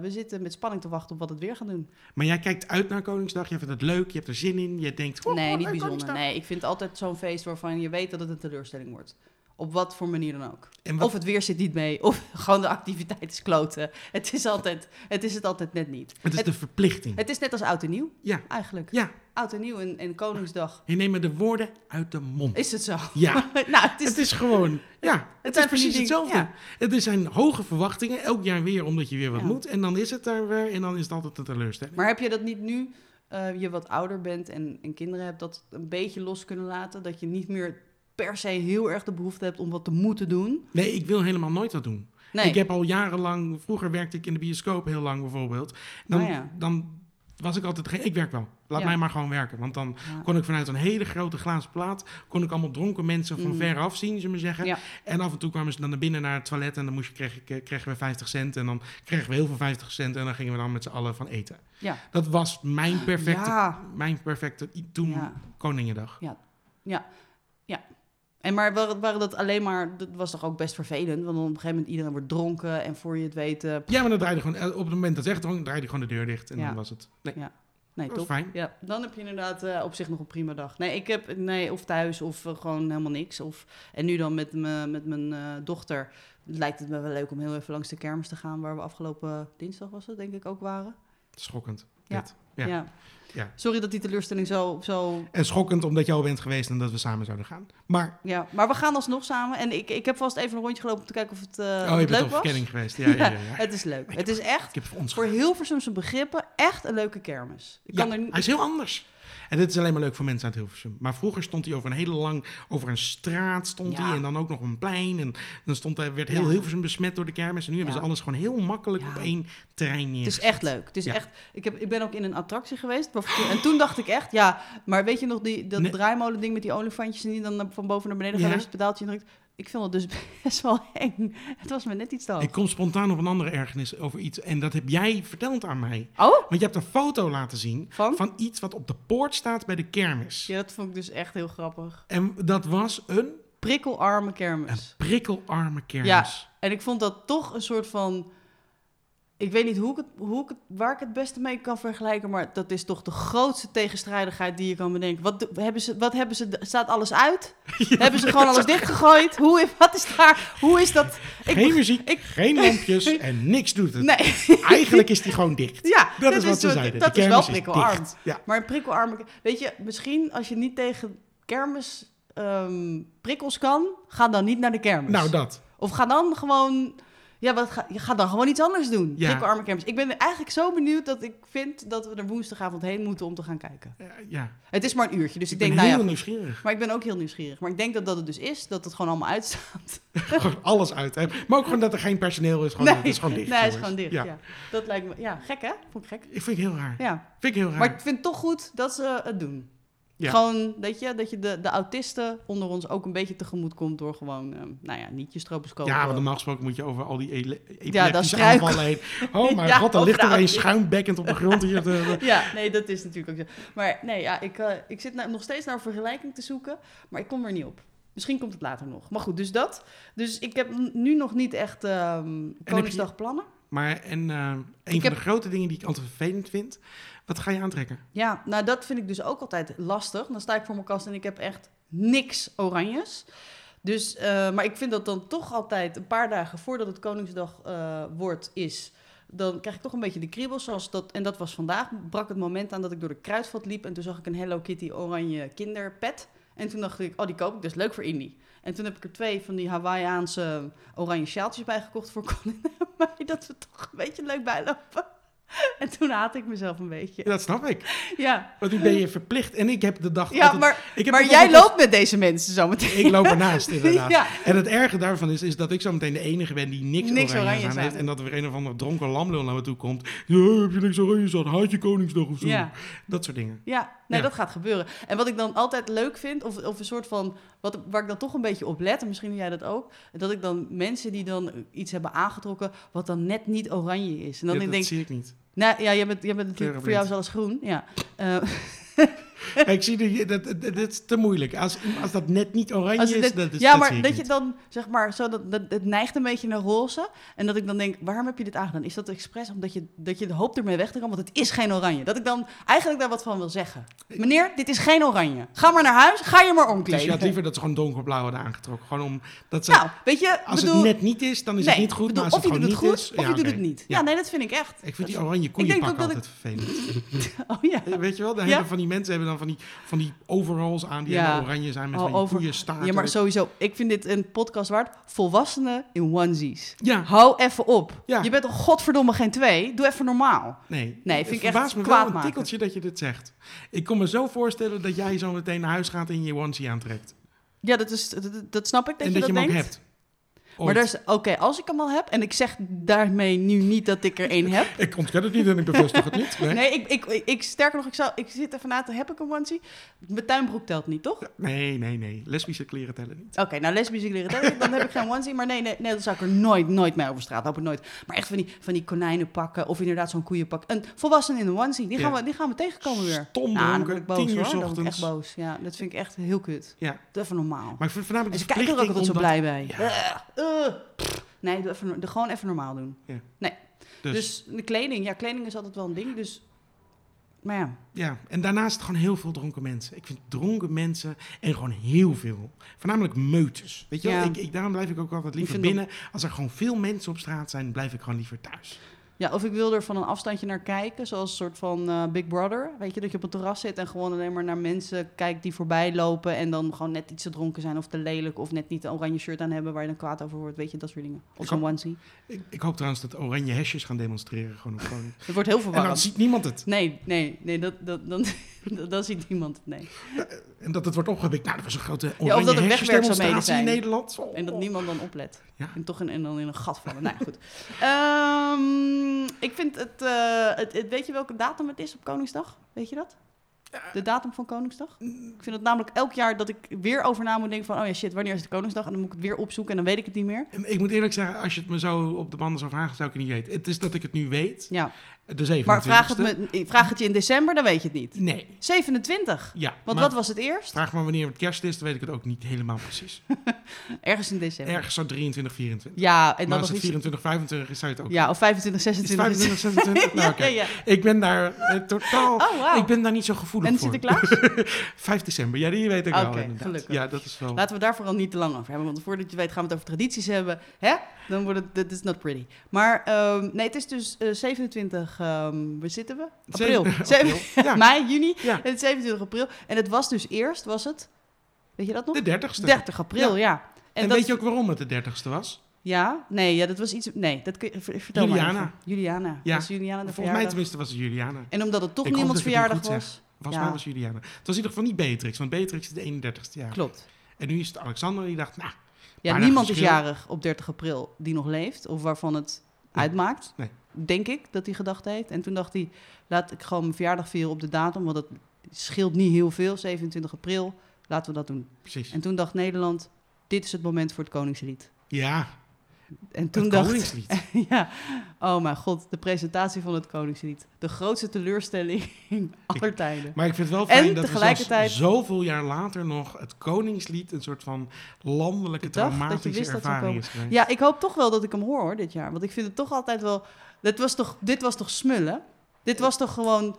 [SPEAKER 2] we zitten met spanning te wachten op wat het weer gaat doen.
[SPEAKER 1] Maar jij kijkt uit naar Koningsdag. Je vindt het leuk. Je hebt er zin in. Je denkt. oh,
[SPEAKER 2] nee,
[SPEAKER 1] oh,
[SPEAKER 2] niet
[SPEAKER 1] leuk,
[SPEAKER 2] bijzonder.
[SPEAKER 1] Koningsdag.
[SPEAKER 2] Nee, ik vind altijd zo'n feest waarvan je weet dat het een teleurstelling wordt. Op wat voor manier dan ook.
[SPEAKER 1] En wat-
[SPEAKER 2] Of het weer zit niet mee, of gewoon de activiteit is kloten. Het is, altijd, het is het altijd net niet.
[SPEAKER 1] het is
[SPEAKER 2] Het,
[SPEAKER 1] de verplichting.
[SPEAKER 2] het is net als oud en nieuw,
[SPEAKER 1] ja,
[SPEAKER 2] eigenlijk.
[SPEAKER 1] ja.
[SPEAKER 2] Oud en nieuw en, en Koningsdag.
[SPEAKER 1] Je neemt me de woorden uit de mond.
[SPEAKER 2] Is het zo?
[SPEAKER 1] Ja.
[SPEAKER 2] nou, het is,
[SPEAKER 1] het is gewoon. Ja,
[SPEAKER 2] zijn van
[SPEAKER 1] het, is
[SPEAKER 2] die
[SPEAKER 1] precies
[SPEAKER 2] dingen-
[SPEAKER 1] hetzelfde.
[SPEAKER 2] ja.
[SPEAKER 1] Het is- zijn hoge verwachtingen. Elk jaar weer, omdat je weer wat
[SPEAKER 2] Ja.
[SPEAKER 1] moet. En dan is het er weer. En dan is het altijd een teleurstelling.
[SPEAKER 2] Maar heb je dat niet nu eh, je wat ouder bent en, en kinderen hebt, dat een beetje los kunnen laten? Dat je niet meer per se heel erg de behoefte hebt om wat te moeten doen?
[SPEAKER 1] Nee, ik wil helemaal nooit dat doen.
[SPEAKER 2] Nee,
[SPEAKER 1] Ik heb al jarenlang. Vroeger werkte ik in de bioscoop heel lang bijvoorbeeld. Dan,
[SPEAKER 2] Nou ja.
[SPEAKER 1] dan was ik altijd. geen- Ik werk wel. Laat
[SPEAKER 2] Ja.
[SPEAKER 1] mij maar gewoon werken. Want dan
[SPEAKER 2] Ja.
[SPEAKER 1] kon ik vanuit een hele grote glazen plaat. kon ik allemaal dronken mensen van
[SPEAKER 2] Mhm.
[SPEAKER 1] ver af zien, ze me zeggen.
[SPEAKER 2] Ja.
[SPEAKER 1] En af en toe kwamen ze dan naar binnen naar het toilet. en dan moest je, kreeg ik, eh, kregen we 50 cent. En dan kregen we heel veel 50 cent. en dan gingen we dan met z'n allen van eten.
[SPEAKER 2] Ja.
[SPEAKER 1] Dat was mijn perfecte.
[SPEAKER 2] Ja.
[SPEAKER 1] Mijn perfecte. i- toen
[SPEAKER 2] Ja.
[SPEAKER 1] Koningendag.
[SPEAKER 2] En maar waren, waren dat alleen maar, dat was toch ook best vervelend? Want op een gegeven moment iedereen wordt dronken en voor je het weet... eh,
[SPEAKER 1] Ja, maar dan draaide gewoon. eh, op het moment dat ze echt dronk, draaide ik gewoon de deur dicht. en
[SPEAKER 2] Ja.
[SPEAKER 1] dan was het. Nee,
[SPEAKER 2] Ja. nee,
[SPEAKER 1] dat was
[SPEAKER 2] top.
[SPEAKER 1] fijn.
[SPEAKER 2] Ja, dan heb je inderdaad eh, op zich nog een prima dag. Nee, ik heb nee, of thuis of eh, gewoon helemaal niks. Of, en nu dan met, me, met mijn eh, dochter lijkt het me wel leuk om heel even langs de kermis te gaan... waar we afgelopen dinsdag was het, denk ik, ook waren.
[SPEAKER 1] Schokkend.
[SPEAKER 2] Ja.
[SPEAKER 1] dit. Ja. Ja.
[SPEAKER 2] Sorry dat die teleurstelling zo, zo
[SPEAKER 1] En schokkend omdat jij al bent geweest en dat we samen zouden gaan. Maar,
[SPEAKER 2] Ja, maar we gaan alsnog samen. En ik, ik heb vast even een rondje gelopen om te kijken of het, eh, of
[SPEAKER 1] oh, je
[SPEAKER 2] het
[SPEAKER 1] bent
[SPEAKER 2] leuk
[SPEAKER 1] op
[SPEAKER 2] was.
[SPEAKER 1] verkenning geweest. Ja, ja, ja, ja.
[SPEAKER 2] het is leuk. Het is echt,
[SPEAKER 1] Ik heb ons
[SPEAKER 2] voor Hilversum zijn begrippen, echt een leuke kermis. Ik kan
[SPEAKER 1] Ja,
[SPEAKER 2] er niet...
[SPEAKER 1] Hij is heel anders. En dit is alleen maar leuk voor mensen uit Hilversum. Maar vroeger stond hij over een hele lang, over een straat stond
[SPEAKER 2] Ja.
[SPEAKER 1] hij en dan ook nog op een plein. En dan stond hij, werd heel
[SPEAKER 2] Ja.
[SPEAKER 1] Hilversum besmet door de kermis. En nu hebben
[SPEAKER 2] Ja.
[SPEAKER 1] ze alles gewoon heel makkelijk
[SPEAKER 2] Ja.
[SPEAKER 1] op één terrein neer.
[SPEAKER 2] Het is echt leuk. Het is
[SPEAKER 1] Ja.
[SPEAKER 2] echt, ik, heb, ik ben ook in een attractie geweest. waarvoor toen- En toen dacht ik echt, ja, maar weet je nog die, dat
[SPEAKER 1] Nee.
[SPEAKER 2] draaimolen ding met die olifantjes en die dan naar- van boven naar beneden gaan
[SPEAKER 1] Ja.
[SPEAKER 2] als je het pedaaltje drukt. Ik vind dat dus best wel eng. Het was me net iets te hoog.
[SPEAKER 1] Ik kom spontaan op een andere ergernis over iets. En dat heb jij verteld aan mij.
[SPEAKER 2] Oh,
[SPEAKER 1] Want je hebt een foto laten zien
[SPEAKER 2] van?
[SPEAKER 1] van iets wat op de poort staat bij de kermis.
[SPEAKER 2] Ja, dat vond ik dus echt heel grappig.
[SPEAKER 1] En dat was een,
[SPEAKER 2] Prikkelarme
[SPEAKER 1] een
[SPEAKER 2] kermis.
[SPEAKER 1] prikkelarme kermis.
[SPEAKER 2] Ja, En ik vond dat toch een soort van. Ik weet niet hoe ik het, hoe ik het, waar ik het beste mee kan vergelijken, maar dat is toch de grootste tegenstrijdigheid die je kan bedenken. Wat do- hebben ze? Wat hebben ze? Staat alles uit? hebben ze gewoon alles dichtgegooid? Hoe, is- wat is daar? Hoe is dat? Ik,
[SPEAKER 1] geen muziek,
[SPEAKER 2] ik-
[SPEAKER 1] geen lampjes en niks doet het.
[SPEAKER 2] nee,
[SPEAKER 1] Eigenlijk is die gewoon dicht.
[SPEAKER 2] ja,
[SPEAKER 1] Dat, is wat ze
[SPEAKER 2] zo-
[SPEAKER 1] zeiden.
[SPEAKER 2] Dat
[SPEAKER 1] de
[SPEAKER 2] is wel
[SPEAKER 1] kermis
[SPEAKER 2] prikkelarm.
[SPEAKER 1] dicht. Ja.
[SPEAKER 2] Maar een prikkelarme, weet je, misschien als je niet tegen kermis ehm, prikkels kan, ga dan niet naar de kermis.
[SPEAKER 1] Nou, dat.
[SPEAKER 2] Of ga dan gewoon. Ja, wat ga, je gaat dan gewoon iets anders doen.
[SPEAKER 1] Ja.
[SPEAKER 2] Dikke arme kermis. Ik ben eigenlijk zo benieuwd dat ik vind dat we er woensdagavond heen moeten om te gaan kijken.
[SPEAKER 1] Eh, ja.
[SPEAKER 2] Het is maar een uurtje, dus ik,
[SPEAKER 1] ik
[SPEAKER 2] denk,
[SPEAKER 1] ben
[SPEAKER 2] nou
[SPEAKER 1] heel
[SPEAKER 2] ja. goed.
[SPEAKER 1] nieuwsgierig.
[SPEAKER 2] Maar ik ben ook heel nieuwsgierig. Maar ik denk dat dat het dus is, dat het gewoon allemaal uitstaat.
[SPEAKER 1] Gewoon alles uit. Hè. Maar ook gewoon dat er geen personeel is. Gewoon,
[SPEAKER 2] nee,
[SPEAKER 1] Het is gewoon dicht.
[SPEAKER 2] Nee, het is
[SPEAKER 1] jongens.
[SPEAKER 2] gewoon dicht.
[SPEAKER 1] Ja.
[SPEAKER 2] Ja. Dat lijkt me. Ja, gek hè? Vond ik gek.
[SPEAKER 1] Ik vind het heel raar.
[SPEAKER 2] Ja.
[SPEAKER 1] Vind ik heel raar.
[SPEAKER 2] Maar ik vind het toch goed dat ze het doen.
[SPEAKER 1] Ja.
[SPEAKER 2] Gewoon, weet je, dat je de, de autisten onder ons ook een beetje tegemoet komt door gewoon, ehm, nou ja, niet je eh, stroopers kopen.
[SPEAKER 1] ja, want normaal gesproken moet je over al die ele-
[SPEAKER 2] Ja, dat is
[SPEAKER 1] epileptische
[SPEAKER 2] struikel.
[SPEAKER 1] aanvallen heen. Oh mijn
[SPEAKER 2] Ja,
[SPEAKER 1] god, dan ligt er
[SPEAKER 2] overal.
[SPEAKER 1] een schuimbekkend op de grond hier. te-
[SPEAKER 2] Ja, nee, dat is natuurlijk ook zo. Maar nee, ja, ik, eh, ik zit nou nog steeds naar een vergelijking te zoeken, maar ik kom er niet op. Misschien komt het later nog. Maar goed, dus dat. Dus ik heb n- nu nog niet echt ehm, Koningsdag plannen.
[SPEAKER 1] Maar en, eh, een van
[SPEAKER 2] heb-
[SPEAKER 1] de grote dingen die ik altijd vervelend vind. Wat ga je aantrekken?
[SPEAKER 2] Ja, nou dat vind ik dus ook altijd lastig. Dan sta ik voor mijn kast en ik heb echt niks oranjes. Dus, eh, maar ik vind dat dan toch altijd een paar dagen voordat het Koningsdag eh, wordt, is. Dan krijg ik toch een beetje de kriebels. Zoals dat, en dat was vandaag, brak het moment aan dat ik door de kruidvat liep. En toen zag ik een Hello Kitty oranje kinderpet. En toen dacht ik, oh die koop ik, dat is leuk voor Indy. En toen heb ik er twee van die Hawaïaanse oranje sjaaltjes bij gekocht voor Colin. Maar dat we toch een beetje leuk bijlopen. En toen haat ik mezelf een beetje.
[SPEAKER 1] Ja, dat snap ik.
[SPEAKER 2] Ja,
[SPEAKER 1] Want nu ben je verplicht. En ik heb de dag...
[SPEAKER 2] ja,
[SPEAKER 1] altijd-
[SPEAKER 2] maar,
[SPEAKER 1] ik heb
[SPEAKER 2] maar
[SPEAKER 1] het
[SPEAKER 2] jij
[SPEAKER 1] altijd als-
[SPEAKER 2] loopt met deze mensen zometeen.
[SPEAKER 1] Ik loop ernaast, inderdaad.
[SPEAKER 2] Ja,
[SPEAKER 1] En het erge daarvan is, is dat ik zo meteen de enige ben die niks,
[SPEAKER 2] Niks oranje
[SPEAKER 1] oranje aan
[SPEAKER 2] aan.
[SPEAKER 1] heeft. En dat er een of ander dronken lamlul naar me toe komt. Ja, heb je niks oranje aan? Haat je Koningsdag of zo?
[SPEAKER 2] ja,
[SPEAKER 1] Dat soort dingen.
[SPEAKER 2] ja. Nee,
[SPEAKER 1] Ja.
[SPEAKER 2] dat gaat gebeuren. En wat ik dan altijd leuk vind, of, of een soort van, wat, waar ik dan toch een beetje op let, en misschien doe jij dat ook, dat ik dan mensen die dan iets hebben aangetrokken, wat dan net niet oranje is. En dan
[SPEAKER 1] Ja,
[SPEAKER 2] ik
[SPEAKER 1] dat
[SPEAKER 2] denk,
[SPEAKER 1] zie ik niet.
[SPEAKER 2] nou ja, jij bent, jij bent natuurlijk, voor jou
[SPEAKER 1] Kleurenblind.
[SPEAKER 2] is alles groen. Ja. Eh,
[SPEAKER 1] ik zie die- dat, dat, dat is te moeilijk. Als, als dat net niet oranje
[SPEAKER 2] Als
[SPEAKER 1] is,
[SPEAKER 2] het net-
[SPEAKER 1] dat is
[SPEAKER 2] ja,
[SPEAKER 1] dat
[SPEAKER 2] maar
[SPEAKER 1] zie ik
[SPEAKER 2] dat je
[SPEAKER 1] niet.
[SPEAKER 2] dan zeg maar zo dat, dat het neigt een beetje naar roze en dat ik dan denk, waarom heb je dit aangedaan? Is dat expres omdat je dat je hoopt ermee weg te komen? Want het is geen oranje. Dat ik dan eigenlijk daar wat van wil zeggen. Meneer, dit is geen oranje. Ga maar naar huis. Ga je maar
[SPEAKER 1] Dus je
[SPEAKER 2] omkleden.
[SPEAKER 1] had liever dat ze gewoon donkerblauw hadden aangetrokken. Gewoon om, dat ze,
[SPEAKER 2] nou, weet je,
[SPEAKER 1] als
[SPEAKER 2] bedoel,
[SPEAKER 1] het net niet is, dan is het
[SPEAKER 2] nee,
[SPEAKER 1] niet goed.
[SPEAKER 2] bedoel,
[SPEAKER 1] maar als
[SPEAKER 2] of je
[SPEAKER 1] het
[SPEAKER 2] doet
[SPEAKER 1] gewoon
[SPEAKER 2] het goed,
[SPEAKER 1] niet is,
[SPEAKER 2] of
[SPEAKER 1] ja,
[SPEAKER 2] je doet
[SPEAKER 1] oké.
[SPEAKER 2] het niet. Ja.
[SPEAKER 1] Ja.
[SPEAKER 2] nee, dat vind ik echt.
[SPEAKER 1] Ik vind die
[SPEAKER 2] Dat-
[SPEAKER 1] oranje
[SPEAKER 2] ook
[SPEAKER 1] koeienpak
[SPEAKER 2] dat ik-
[SPEAKER 1] altijd vervelend.
[SPEAKER 2] Oh ja.
[SPEAKER 1] Eh, Weet je wel, de
[SPEAKER 2] Ja.
[SPEAKER 1] hele van die mensen hebben dan van die, van die overalls aan die
[SPEAKER 2] Ja.
[SPEAKER 1] helemaal oranje zijn met
[SPEAKER 2] Oh,
[SPEAKER 1] van die
[SPEAKER 2] over-
[SPEAKER 1] koeienstaarten.
[SPEAKER 2] Ja, maar sowieso. Ik vind dit een podcast waard. Volwassenen in onesies.
[SPEAKER 1] Ja,
[SPEAKER 2] Hou even op.
[SPEAKER 1] Ja.
[SPEAKER 2] Je bent toch godverdomme geen twee. Doe even normaal.
[SPEAKER 1] Nee,
[SPEAKER 2] Nee, vind
[SPEAKER 1] Het
[SPEAKER 2] ik echt
[SPEAKER 1] verbaast me wel
[SPEAKER 2] kwaadmaken.
[SPEAKER 1] een tikkeltje dat je dit zegt. Ik kon me zo voorstellen dat jij zo meteen naar huis gaat en je onesie aantrekt.
[SPEAKER 2] Ja, dat, is, dat, dat snap ik dat
[SPEAKER 1] en
[SPEAKER 2] je
[SPEAKER 1] dat je
[SPEAKER 2] dat
[SPEAKER 1] hem ook
[SPEAKER 2] denkt.
[SPEAKER 1] hebt.
[SPEAKER 2] Maar
[SPEAKER 1] Ooit.
[SPEAKER 2] daar is, oké, als ik hem al heb, en ik zeg daarmee nu niet dat ik er één heb.
[SPEAKER 1] Ik ontken het niet en ik bevestig het niet. Nee, nee.
[SPEAKER 2] Nee, ik, ik, ik, sterker nog, ik, zou, ik zit even na te heb ik een onesie? Mijn tuinbroek telt niet, toch?
[SPEAKER 1] nee, nee, Lesbische kleren tellen niet.
[SPEAKER 2] Oké, nou lesbisch ik leren tellen, dan heb ik geen onesie. Maar nee, nee, nee, dan zou ik er nooit, nooit mee over straat lopen, nooit. Maar echt van die, van die konijnen pakken, of inderdaad zo'n koeienpak. Een volwassen in een onesie, die gaan,
[SPEAKER 1] Ja.
[SPEAKER 2] we, die gaan we tegenkomen weer.
[SPEAKER 1] Stom
[SPEAKER 2] nou, dan
[SPEAKER 1] dronken,
[SPEAKER 2] word ik boos
[SPEAKER 1] tien uur
[SPEAKER 2] hoor, dan word ik echt
[SPEAKER 1] ochtends.
[SPEAKER 2] boos. Ja, dat vind ik echt heel kut.
[SPEAKER 1] Ja.
[SPEAKER 2] Doe even normaal.
[SPEAKER 1] Maar ik vind voornamelijk
[SPEAKER 2] En
[SPEAKER 1] de
[SPEAKER 2] ze kijken er ook altijd
[SPEAKER 1] verplichting
[SPEAKER 2] zo
[SPEAKER 1] om
[SPEAKER 2] blij bij.
[SPEAKER 1] dat-
[SPEAKER 2] Eh, eh, pff. Nee, doe even, doe gewoon even normaal doen.
[SPEAKER 1] Ja.
[SPEAKER 2] Nee.
[SPEAKER 1] Dus-
[SPEAKER 2] Dus. de kleding, ja, kleding is altijd wel een ding. Dus, maar ja,
[SPEAKER 1] Ja, en daarnaast gewoon heel veel dronken mensen. Ik vind dronken mensen en gewoon heel veel. Voornamelijk meutes. Weet je wel,
[SPEAKER 2] Ja.
[SPEAKER 1] ik, ik, daarom blijf ik ook altijd liever
[SPEAKER 2] vind dat-
[SPEAKER 1] binnen. Als er gewoon veel mensen op straat zijn, blijf ik gewoon liever thuis.
[SPEAKER 2] Ja, of ik wil er van een afstandje naar kijken, zoals een soort van eh, Big Brother. Weet je, dat je op het terras zit en gewoon alleen maar naar mensen kijkt die voorbij lopen en dan gewoon net iets te dronken zijn of te lelijk of net niet een oranje shirt aan hebben waar je dan kwaad over wordt. Weet je, dat soort dingen. Of
[SPEAKER 1] Ik
[SPEAKER 2] zo'n
[SPEAKER 1] hoop-
[SPEAKER 2] onesie.
[SPEAKER 1] Ik, ik hoop trouwens dat oranje hesjes gaan demonstreren. Gewoon op Groningen.
[SPEAKER 2] Het wordt heel
[SPEAKER 1] En dan
[SPEAKER 2] verwarrend.
[SPEAKER 1] ziet niemand het.
[SPEAKER 2] Nee, nee, nee, dat, dat, dan, dan ziet niemand het, nee.
[SPEAKER 1] En dat het wordt opgewikt. Nou, dat was een grote
[SPEAKER 2] dat er
[SPEAKER 1] oranje
[SPEAKER 2] wegwerkzaamheden
[SPEAKER 1] hesjesdemonstratie
[SPEAKER 2] zijn.
[SPEAKER 1] in Nederland. Oh.
[SPEAKER 2] En dat niemand dan oplet.
[SPEAKER 1] Ja.
[SPEAKER 2] En toch in, en dan in een gat vallen. nou ja, goed. Ehm, ik vind het, eh, het, het- Weet je welke datum het is op Koningsdag? Weet je dat? De datum van Koningsdag?
[SPEAKER 1] Mm.
[SPEAKER 2] Ik vind het namelijk elk jaar dat ik weer over na moet denken van... oh ja, shit, wanneer is het Koningsdag? En dan moet ik het weer opzoeken en dan weet ik het niet meer.
[SPEAKER 1] En Ik moet eerlijk zeggen, als je het me zo op de banden zou vragen, zou ik het niet weten. Het is dat ik het nu weet.
[SPEAKER 2] Ja.
[SPEAKER 1] De 27e.
[SPEAKER 2] Maar vraag het, me, vraag het je in december, dan weet je het niet.
[SPEAKER 1] Nee.
[SPEAKER 2] 27.
[SPEAKER 1] Ja.
[SPEAKER 2] Want
[SPEAKER 1] maar
[SPEAKER 2] wat was het eerst?
[SPEAKER 1] Vraag maar wanneer het kerst is, dan weet ik het ook niet helemaal precies.
[SPEAKER 2] Ergens in december.
[SPEAKER 1] Ergens zo 23, 24.
[SPEAKER 2] Ja, en
[SPEAKER 1] maar
[SPEAKER 2] dan
[SPEAKER 1] als
[SPEAKER 2] nog
[SPEAKER 1] het
[SPEAKER 2] iets...
[SPEAKER 1] 24, 25 is, zou je het ook
[SPEAKER 2] Ja, of 25,
[SPEAKER 1] Is het
[SPEAKER 2] 26.
[SPEAKER 1] 25, 26? Nou,
[SPEAKER 2] ja,
[SPEAKER 1] oké.
[SPEAKER 2] ja, ja.
[SPEAKER 1] Ik ben daar eh, totaal...
[SPEAKER 2] Oh, wauw.
[SPEAKER 1] Ik ben daar niet zo gevoelig
[SPEAKER 2] En
[SPEAKER 1] voor.
[SPEAKER 2] Sinterklaas?
[SPEAKER 1] 5 december. Ja, die weet ik wel
[SPEAKER 2] Oké,
[SPEAKER 1] inderdaad.
[SPEAKER 2] gelukkig.
[SPEAKER 1] Ja, dat is wel...
[SPEAKER 2] Laten we daar vooral niet te lang over hebben. Want voordat je weet gaan we het over tradities hebben. Hè? Dan wordt het... That is not pretty. Maar ehm, nee, het is dus eh, 27... ehm waar zitten we? April.
[SPEAKER 1] Zeven-
[SPEAKER 2] Zeven-
[SPEAKER 1] april. Ja,
[SPEAKER 2] Mei, juni.
[SPEAKER 1] ja.
[SPEAKER 2] En het is 27 april. En het was dus eerst, was het... Weet je dat nog?
[SPEAKER 1] De 30ste.
[SPEAKER 2] 30 april, ja.
[SPEAKER 1] En,
[SPEAKER 2] dat-
[SPEAKER 1] weet je ook waarom het de 30ste was?
[SPEAKER 2] Ja? Nee, ja, dat was iets... Nee, dat kun je... ver- Vertel
[SPEAKER 1] Juliana.
[SPEAKER 2] maar even. Juliana.
[SPEAKER 1] Ja.
[SPEAKER 2] Ja. Was Juliana de
[SPEAKER 1] Volgens mij
[SPEAKER 2] verjaardag?
[SPEAKER 1] tenminste was het Juliana.
[SPEAKER 2] En omdat het toch
[SPEAKER 1] Ik hoop
[SPEAKER 2] niemands
[SPEAKER 1] dat ik het
[SPEAKER 2] verjaardag
[SPEAKER 1] goed
[SPEAKER 2] was...
[SPEAKER 1] Volgens
[SPEAKER 2] Ja.
[SPEAKER 1] mij was Juliana. Het was in ieder geval niet Beatrix, want Beatrix is de 31ste jaar.
[SPEAKER 2] Klopt.
[SPEAKER 1] En nu is het Alexander die dacht, nou,
[SPEAKER 2] Ja,
[SPEAKER 1] Maar dat
[SPEAKER 2] niemand is
[SPEAKER 1] verschil-
[SPEAKER 2] jarig op 30 april die nog leeft of waarvan het
[SPEAKER 1] Nee.
[SPEAKER 2] uitmaakt.
[SPEAKER 1] Nee.
[SPEAKER 2] Denk ik dat hij gedacht heeft. En toen dacht hij, laat ik gewoon mijn verjaardag vieren op de datum, want dat scheelt niet heel veel. 27 april, laten we dat doen.
[SPEAKER 1] precies.
[SPEAKER 2] En toen dacht Nederland, dit is het moment voor het Koningslied.
[SPEAKER 1] Ja,
[SPEAKER 2] En toen
[SPEAKER 1] het
[SPEAKER 2] dacht
[SPEAKER 1] koningslied.
[SPEAKER 2] ja, oh mijn god, de presentatie van het Koningslied. De grootste teleurstelling aller tijden.
[SPEAKER 1] Maar ik vind het wel
[SPEAKER 2] En
[SPEAKER 1] fijn dat
[SPEAKER 2] tegelijkertijd-
[SPEAKER 1] we zelfs zoveel jaar later nog het koningslied een soort van landelijke
[SPEAKER 2] De dag dat je
[SPEAKER 1] traumatische
[SPEAKER 2] wist dat zou
[SPEAKER 1] ervaring
[SPEAKER 2] komen.
[SPEAKER 1] is geweest.
[SPEAKER 2] Ja, ik hoop toch wel dat ik hem hoor hoor, dit jaar. Want ik vind het toch altijd wel. Dit was toch, dit was toch smullen? Dit was toch gewoon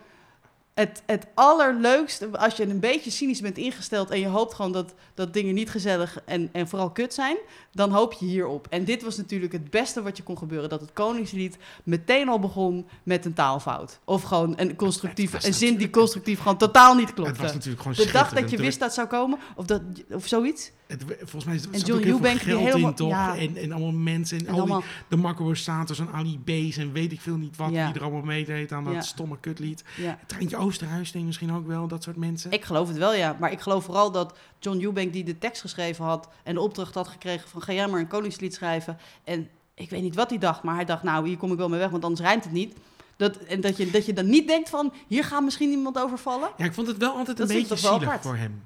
[SPEAKER 2] het, het allerleukste. Als je een beetje cynisch bent ingesteld en je hoopt gewoon dat, dat dingen niet gezellig en, en vooral kut zijn, dan hoop je hierop. En dit was natuurlijk het beste wat je kon gebeuren: dat het Koningslied meteen al begon met een taalfout. Of gewoon een, constructief,
[SPEAKER 1] Het was
[SPEAKER 2] een zin die
[SPEAKER 1] natuurlijk-
[SPEAKER 2] constructief gewoon totaal niet
[SPEAKER 1] het was
[SPEAKER 2] klopte.
[SPEAKER 1] natuurlijk gewoon
[SPEAKER 2] eh, De dag dat je
[SPEAKER 1] schitterend.
[SPEAKER 2] wist dat zou komen, of, dat, of zoiets.
[SPEAKER 1] Het- volgens mij zat
[SPEAKER 2] En
[SPEAKER 1] er
[SPEAKER 2] John
[SPEAKER 1] ook heel veel
[SPEAKER 2] Eubank die
[SPEAKER 1] geld
[SPEAKER 2] helemaal-
[SPEAKER 1] in, toch?
[SPEAKER 2] ja.
[SPEAKER 1] En, en allemaal mensen en,
[SPEAKER 2] En
[SPEAKER 1] al die,
[SPEAKER 2] allemaal,
[SPEAKER 1] de Marco Borsatos en Ali B's en weet ik veel niet wat,
[SPEAKER 2] Ja.
[SPEAKER 1] die er allemaal meedeed aan dat
[SPEAKER 2] Ja.
[SPEAKER 1] stomme kutlied.
[SPEAKER 2] ja.
[SPEAKER 1] Treintje Oosterhuis denk ik misschien ook wel, dat soort mensen.
[SPEAKER 2] Ik geloof het wel, ja. Maar ik geloof vooral dat John Eubank, die de tekst geschreven had... en de opdracht had gekregen van ga jij maar een koningslied schrijven. En ik weet niet wat hij dacht, maar hij dacht... nou, hier kom ik wel mee weg, want anders rijmt het niet. Dat, en dat je, dat je dan niet denkt van... hier gaat misschien iemand overvallen.
[SPEAKER 1] Ja, ik vond het wel altijd een
[SPEAKER 2] Dat is
[SPEAKER 1] beetje
[SPEAKER 2] toch wel
[SPEAKER 1] zielig
[SPEAKER 2] apart?
[SPEAKER 1] voor hem.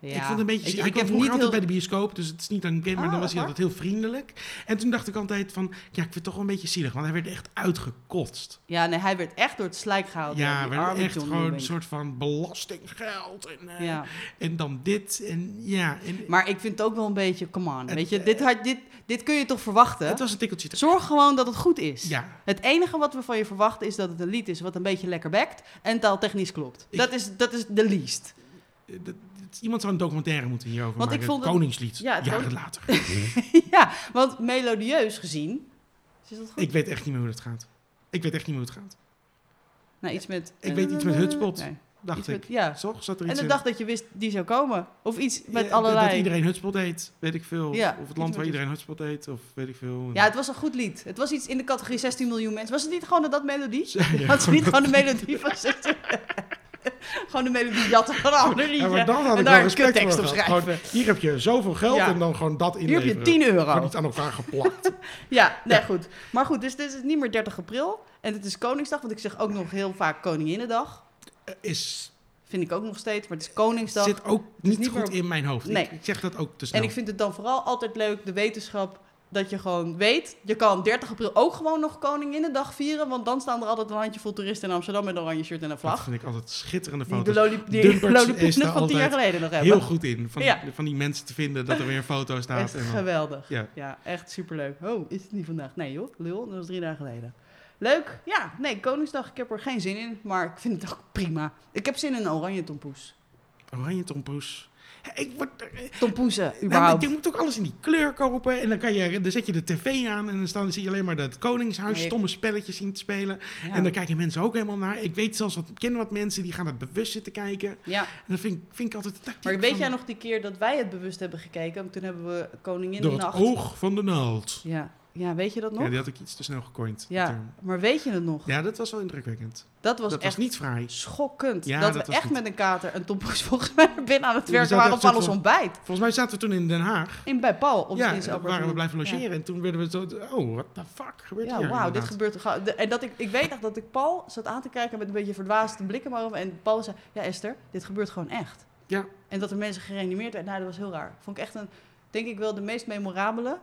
[SPEAKER 2] Ja,
[SPEAKER 1] Ik vond het een beetje. zielig. Ik, kwam
[SPEAKER 2] heb
[SPEAKER 1] vroeger altijd
[SPEAKER 2] heel-
[SPEAKER 1] bij de bioscoop, dus het is niet aan Game, maar
[SPEAKER 2] Ah,
[SPEAKER 1] dan was hij
[SPEAKER 2] waar?
[SPEAKER 1] altijd heel vriendelijk. En toen dacht ik altijd van, ja, ik vind het toch wel een beetje zielig, want hij werd echt uitgekotst.
[SPEAKER 2] Ja, nee, hij werd echt door het slijk gehaald.
[SPEAKER 1] ja,
[SPEAKER 2] door
[SPEAKER 1] hij
[SPEAKER 2] Oh, die
[SPEAKER 1] werd
[SPEAKER 2] arme
[SPEAKER 1] echt
[SPEAKER 2] John
[SPEAKER 1] gewoon
[SPEAKER 2] Eubank.
[SPEAKER 1] een soort van belastinggeld en, eh,
[SPEAKER 2] Ja.
[SPEAKER 1] en dan dit en ja. En,
[SPEAKER 2] Maar ik vind het ook wel een beetje, come on.
[SPEAKER 1] Het-
[SPEAKER 2] Weet je, dit, had, dit, dit kun je toch verwachten?
[SPEAKER 1] het was een tikkeltje. te-
[SPEAKER 2] Zorg gewoon dat het goed is.
[SPEAKER 1] Ja,
[SPEAKER 2] Het enige wat we van je verwachten is dat het een lied is wat een beetje lekker bekt en taaltechnisch klopt.
[SPEAKER 1] Ik-
[SPEAKER 2] Dat is, dat is de least.
[SPEAKER 1] eh, dat- dat- iemand zou een documentaire moeten hierover
[SPEAKER 2] Want ik
[SPEAKER 1] maken.
[SPEAKER 2] vond
[SPEAKER 1] het
[SPEAKER 2] het-
[SPEAKER 1] Koningslied,
[SPEAKER 2] Ja, het
[SPEAKER 1] jaren
[SPEAKER 2] kon-
[SPEAKER 1] later.
[SPEAKER 2] ja, want melodieus gezien. Is dat goed?
[SPEAKER 1] ik weet echt niet meer hoe dat gaat. Ik weet echt niet meer hoe het gaat.
[SPEAKER 2] nou, iets met.
[SPEAKER 1] ik weet iets met Hutspot,
[SPEAKER 2] Nee,
[SPEAKER 1] Dacht
[SPEAKER 2] iets
[SPEAKER 1] ik.
[SPEAKER 2] met- ja.
[SPEAKER 1] Toch? Zat er
[SPEAKER 2] En
[SPEAKER 1] iets
[SPEAKER 2] de
[SPEAKER 1] in?
[SPEAKER 2] dag dat je wist die zou komen. Of iets met
[SPEAKER 1] Ja, Dat
[SPEAKER 2] allerlei.
[SPEAKER 1] iedereen hutspot deed, weet ik veel.
[SPEAKER 2] Ja,
[SPEAKER 1] of het
[SPEAKER 2] iets
[SPEAKER 1] land
[SPEAKER 2] met
[SPEAKER 1] waar iedereen hutspot deed, of weet ik veel.
[SPEAKER 2] Ja, het was een goed lied. Het was iets in de categorie 16 miljoen mensen. Was het niet gewoon dat melodie?
[SPEAKER 1] Ja,
[SPEAKER 2] Had ze niet gewoon de melodie van 16 Gewoon de melodie jatten van een ander liedje.
[SPEAKER 1] Ja, maar dan had
[SPEAKER 2] en daar
[SPEAKER 1] ik wel
[SPEAKER 2] een
[SPEAKER 1] respect voor
[SPEAKER 2] kuttekst op
[SPEAKER 1] gehad.
[SPEAKER 2] schrijven.
[SPEAKER 1] Gewoon, hier heb je zoveel geld
[SPEAKER 2] Ja.
[SPEAKER 1] en dan gewoon dat
[SPEAKER 2] Hier
[SPEAKER 1] inleveren.
[SPEAKER 2] heb je 10
[SPEAKER 1] Gewoon
[SPEAKER 2] euro.
[SPEAKER 1] niet aan elkaar geplakt.
[SPEAKER 2] Ja, nee, goed. Maar goed, dus dit is niet meer 30 april. En het is Koningsdag, want ik zeg ook nog heel vaak Koninginnedag.
[SPEAKER 1] Eh, Is,
[SPEAKER 2] Vind ik ook nog steeds, maar het is Koningsdag.
[SPEAKER 1] zit ook niet,
[SPEAKER 2] niet
[SPEAKER 1] goed
[SPEAKER 2] meer-
[SPEAKER 1] in mijn hoofd. Ik-
[SPEAKER 2] Nee.
[SPEAKER 1] Ik, zeg dat ook te snel.
[SPEAKER 2] En ik vind het dan vooral altijd leuk, de wetenschap, dat je gewoon weet... je kan 30 april ook gewoon nog Koninginnedag vieren... want dan staan er altijd een handjevol toeristen in Amsterdam... met een oranje shirt en een
[SPEAKER 1] dat
[SPEAKER 2] vlag.
[SPEAKER 1] vind ik altijd schitterende
[SPEAKER 2] Die de
[SPEAKER 1] foto's.
[SPEAKER 2] loli- die
[SPEAKER 1] Dumpertje
[SPEAKER 2] lollipoppen
[SPEAKER 1] is daar
[SPEAKER 2] van tien jaar
[SPEAKER 1] altijd
[SPEAKER 2] geleden nog hebben.
[SPEAKER 1] Heel goed in. Van,
[SPEAKER 2] Ja.
[SPEAKER 1] van die mensen te vinden dat er weer een foto staat.
[SPEAKER 2] Echt
[SPEAKER 1] en dan-
[SPEAKER 2] geweldig.
[SPEAKER 1] Ja.
[SPEAKER 2] Ja, echt superleuk. Oh, is het niet vandaag? Nee joh, lul, dat was drie dagen geleden. Leuk. Ja, nee, Koningsdag, ik heb er geen zin in, maar ik vind het ook prima. Ik heb zin in een oranje tompoes.
[SPEAKER 1] Oranje tompoes. Ik word, eh,
[SPEAKER 2] Tompoezen,
[SPEAKER 1] nou, maar
[SPEAKER 2] überhaupt.
[SPEAKER 1] je moet ook alles in die kleur kopen. En dan, kan je, dan zet je de tv aan en dan staan, zie je alleen maar dat Koningshuis
[SPEAKER 2] Nee.
[SPEAKER 1] stomme spelletjes zien te spelen.
[SPEAKER 2] Ja.
[SPEAKER 1] En dan kijken mensen ook helemaal naar. Ik weet zelfs, wat, ik ken wat mensen die gaan het bewust zitten kijken.
[SPEAKER 2] ja.
[SPEAKER 1] En dat vind, ik- vind ik altijd... dat-
[SPEAKER 2] Maar weet
[SPEAKER 1] van-
[SPEAKER 2] jij nog die keer dat wij het bewust hebben gekeken? Want toen hebben we Koningin
[SPEAKER 1] Door
[SPEAKER 2] de
[SPEAKER 1] het
[SPEAKER 2] Nacht.
[SPEAKER 1] oog van de naald.
[SPEAKER 2] Ja. ja, weet je dat nog?
[SPEAKER 1] Ja,
[SPEAKER 2] Ja,
[SPEAKER 1] die had ik iets te snel gecoind.
[SPEAKER 2] maar weet je het nog?
[SPEAKER 1] Ja, dat was wel indrukwekkend.
[SPEAKER 2] Dat was
[SPEAKER 1] dat
[SPEAKER 2] echt
[SPEAKER 1] was niet fraai.
[SPEAKER 2] schokkend.
[SPEAKER 1] Ja,
[SPEAKER 2] dat,
[SPEAKER 1] dat
[SPEAKER 2] we
[SPEAKER 1] was
[SPEAKER 2] echt
[SPEAKER 1] niet-
[SPEAKER 2] met een kater en tompoes volgens mij binnen aan het
[SPEAKER 1] We
[SPEAKER 2] werken
[SPEAKER 1] zaten
[SPEAKER 2] waren
[SPEAKER 1] echt
[SPEAKER 2] op aan
[SPEAKER 1] soort
[SPEAKER 2] ons
[SPEAKER 1] van-
[SPEAKER 2] ontbijt.
[SPEAKER 1] Volgens mij zaten we toen in Den Haag.
[SPEAKER 2] In, bij Paul op
[SPEAKER 1] ja,
[SPEAKER 2] het
[SPEAKER 1] daar waren we blijven logeren. En toen werden we zo... Oh, what the fuck gebeurt
[SPEAKER 2] Ja,
[SPEAKER 1] hier?
[SPEAKER 2] wauw, dit
[SPEAKER 1] inderdaad?
[SPEAKER 2] gebeurt er gauw. De- En dat ik, ik weet nog dat ik Paul zat aan te kijken met een beetje verdwaasde blikken maar om. En Paul zei, ja Esther, dit gebeurt gewoon echt.
[SPEAKER 1] Ja.
[SPEAKER 2] En dat er mensen gereanimeerd werden, nou dat was heel raar. Vond ik echt een, denk ik wel de meest memorabele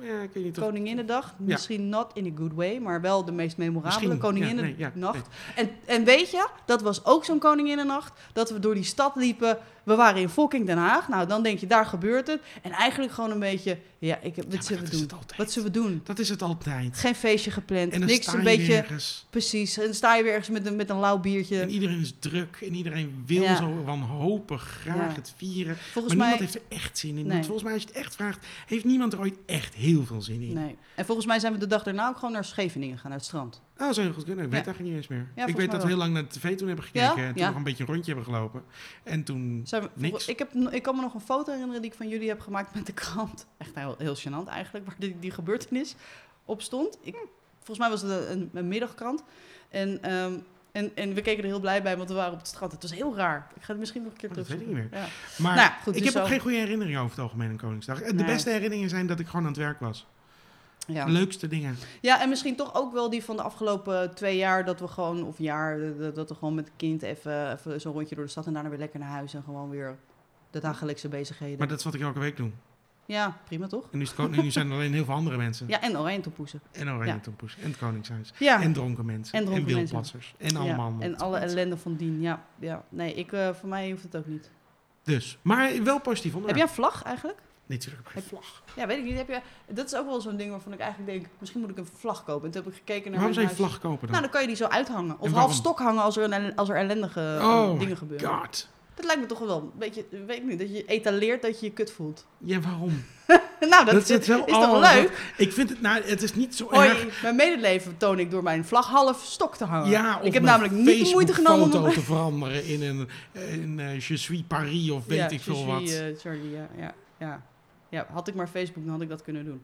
[SPEAKER 1] Ja, ik weet niet of...
[SPEAKER 2] Koninginnedag. Misschien not in a good way, maar wel de meest memorabele
[SPEAKER 1] Misschien, ja,
[SPEAKER 2] Koninginnennacht.
[SPEAKER 1] nee, ja, nee.
[SPEAKER 2] en, en weet je, dat was ook zo'n Koninginnennacht. Dat we door die stad liepen. We waren in fucking Den Haag. Nou, dan denk je, daar gebeurt het. En eigenlijk gewoon een beetje, ja, ik, wat
[SPEAKER 1] Ja, maar
[SPEAKER 2] zullen
[SPEAKER 1] dat
[SPEAKER 2] we
[SPEAKER 1] is
[SPEAKER 2] doen?
[SPEAKER 1] het altijd.
[SPEAKER 2] Wat zullen we doen?
[SPEAKER 1] Dat is het altijd.
[SPEAKER 2] Geen feestje gepland,
[SPEAKER 1] En dan
[SPEAKER 2] niks,
[SPEAKER 1] sta
[SPEAKER 2] een
[SPEAKER 1] je
[SPEAKER 2] beetje...
[SPEAKER 1] ergens.
[SPEAKER 2] Precies, en dan sta je weer ergens met een, met een lauw biertje.
[SPEAKER 1] En iedereen is druk en iedereen wil
[SPEAKER 2] Ja.
[SPEAKER 1] zo wanhopig graag
[SPEAKER 2] Ja.
[SPEAKER 1] het vieren.
[SPEAKER 2] Volgens
[SPEAKER 1] maar
[SPEAKER 2] mij...
[SPEAKER 1] niemand heeft er echt zin in.
[SPEAKER 2] Nee.
[SPEAKER 1] Want volgens mij, als je het echt vraagt, heeft niemand er ooit echt heel veel zin in.
[SPEAKER 2] Nee. En volgens mij zijn we de dag daarna ook gewoon naar Scheveningen gaan, naar het strand.
[SPEAKER 1] Nou, dat zou heel goed kunnen. Ik weet
[SPEAKER 2] Ja.
[SPEAKER 1] eigenlijk niet eens meer. ik
[SPEAKER 2] volgens
[SPEAKER 1] weet
[SPEAKER 2] mij
[SPEAKER 1] dat
[SPEAKER 2] wel.
[SPEAKER 1] we heel lang naar de tv toen hebben
[SPEAKER 2] Ja?
[SPEAKER 1] gekeken. En toen
[SPEAKER 2] Ja.
[SPEAKER 1] nog een beetje een rondje hebben gelopen. En toen...
[SPEAKER 2] Zijn we-
[SPEAKER 1] Niks.
[SPEAKER 2] Ik, heb, ik kan me nog een foto herinneren die ik van jullie heb gemaakt met de krant. Echt heel, heel gênant eigenlijk, waar die, die gebeurtenis op stond. Ik, volgens mij was het een, een middagkrant. En, ehm, en, en we keken er heel blij bij, want we waren op het strand. Het was heel raar. Ik ga het misschien nog een keer
[SPEAKER 1] Oh, dat
[SPEAKER 2] terug.
[SPEAKER 1] weet ik niet meer.
[SPEAKER 2] Ja.
[SPEAKER 1] Maar
[SPEAKER 2] Nou ja, goed,
[SPEAKER 1] ik
[SPEAKER 2] dus
[SPEAKER 1] heb ook
[SPEAKER 2] zo.
[SPEAKER 1] geen goede herinneringen over het algemeen aan Koningsdag. En De
[SPEAKER 2] Nee.
[SPEAKER 1] beste herinneringen zijn dat ik gewoon aan het werk was.
[SPEAKER 2] Ja.
[SPEAKER 1] De leukste dingen.
[SPEAKER 2] Ja, en misschien toch ook wel die van de afgelopen twee jaar dat we gewoon, of jaar, dat- dat we gewoon met het kind even, even zo'n rondje door de stad en daarna weer lekker naar huis en gewoon weer de dagelijkse bezigheden.
[SPEAKER 1] Maar dat is wat ik elke week doe.
[SPEAKER 2] Ja, prima toch?
[SPEAKER 1] En nu, is het kon- en nu zijn er alleen heel veel andere mensen.
[SPEAKER 2] Ja, en oranje tompoezen.
[SPEAKER 1] En Oranje
[SPEAKER 2] Ja.
[SPEAKER 1] Tompoes. En het Koningshuis.
[SPEAKER 2] Ja.
[SPEAKER 1] En dronken mensen.
[SPEAKER 2] En dronken mensen.
[SPEAKER 1] wildpatsers. En allemaal.
[SPEAKER 2] Ja, en alle ellende van dien, ja. ja. Nee, ik, eh, voor mij hoeft het ook niet.
[SPEAKER 1] Dus, maar wel positief
[SPEAKER 2] Heb
[SPEAKER 1] onderwerp.
[SPEAKER 2] jij een vlag eigenlijk?
[SPEAKER 1] Nee, natuurlijk heb ik geen vlag.
[SPEAKER 2] Ja, weet ik niet. Heb je, dat is ook wel zo'n ding waarvan ik eigenlijk denk, misschien moet ik een vlag kopen. En toen heb ik gekeken naar
[SPEAKER 1] Waarom
[SPEAKER 2] mijn
[SPEAKER 1] zou je
[SPEAKER 2] huis.
[SPEAKER 1] vlag kopen
[SPEAKER 2] Nou,
[SPEAKER 1] dan?
[SPEAKER 2] dan kan je die zo uithangen. Of half
[SPEAKER 1] En waarom?
[SPEAKER 2] stok hangen als er, een, als er ellendige eh,
[SPEAKER 1] Oh my
[SPEAKER 2] dingen gebeuren.
[SPEAKER 1] God.
[SPEAKER 2] Dat lijkt me toch wel een beetje, weet ik niet, dat je etaleert dat je je kut voelt.
[SPEAKER 1] Ja, waarom?
[SPEAKER 2] nou, dat,
[SPEAKER 1] Dat is
[SPEAKER 2] is,
[SPEAKER 1] het wel
[SPEAKER 2] toch
[SPEAKER 1] allemaal
[SPEAKER 2] leuk?
[SPEAKER 1] Ik vind het, nou, het is niet zo erg.
[SPEAKER 2] Hoi, mijn medeleven toon ik door mijn vlag half stok te hangen.
[SPEAKER 1] Ja, of
[SPEAKER 2] Eh, ik heb
[SPEAKER 1] mijn
[SPEAKER 2] namelijk niet de moeite genomen
[SPEAKER 1] foto
[SPEAKER 2] om...
[SPEAKER 1] te veranderen in een, in, eh, Je suis Paris of weet
[SPEAKER 2] Ja,
[SPEAKER 1] ik veel
[SPEAKER 2] je
[SPEAKER 1] wat.
[SPEAKER 2] zie, eh, sorry, ja, ja, ja. Ja, had ik maar Facebook, dan had ik dat kunnen doen.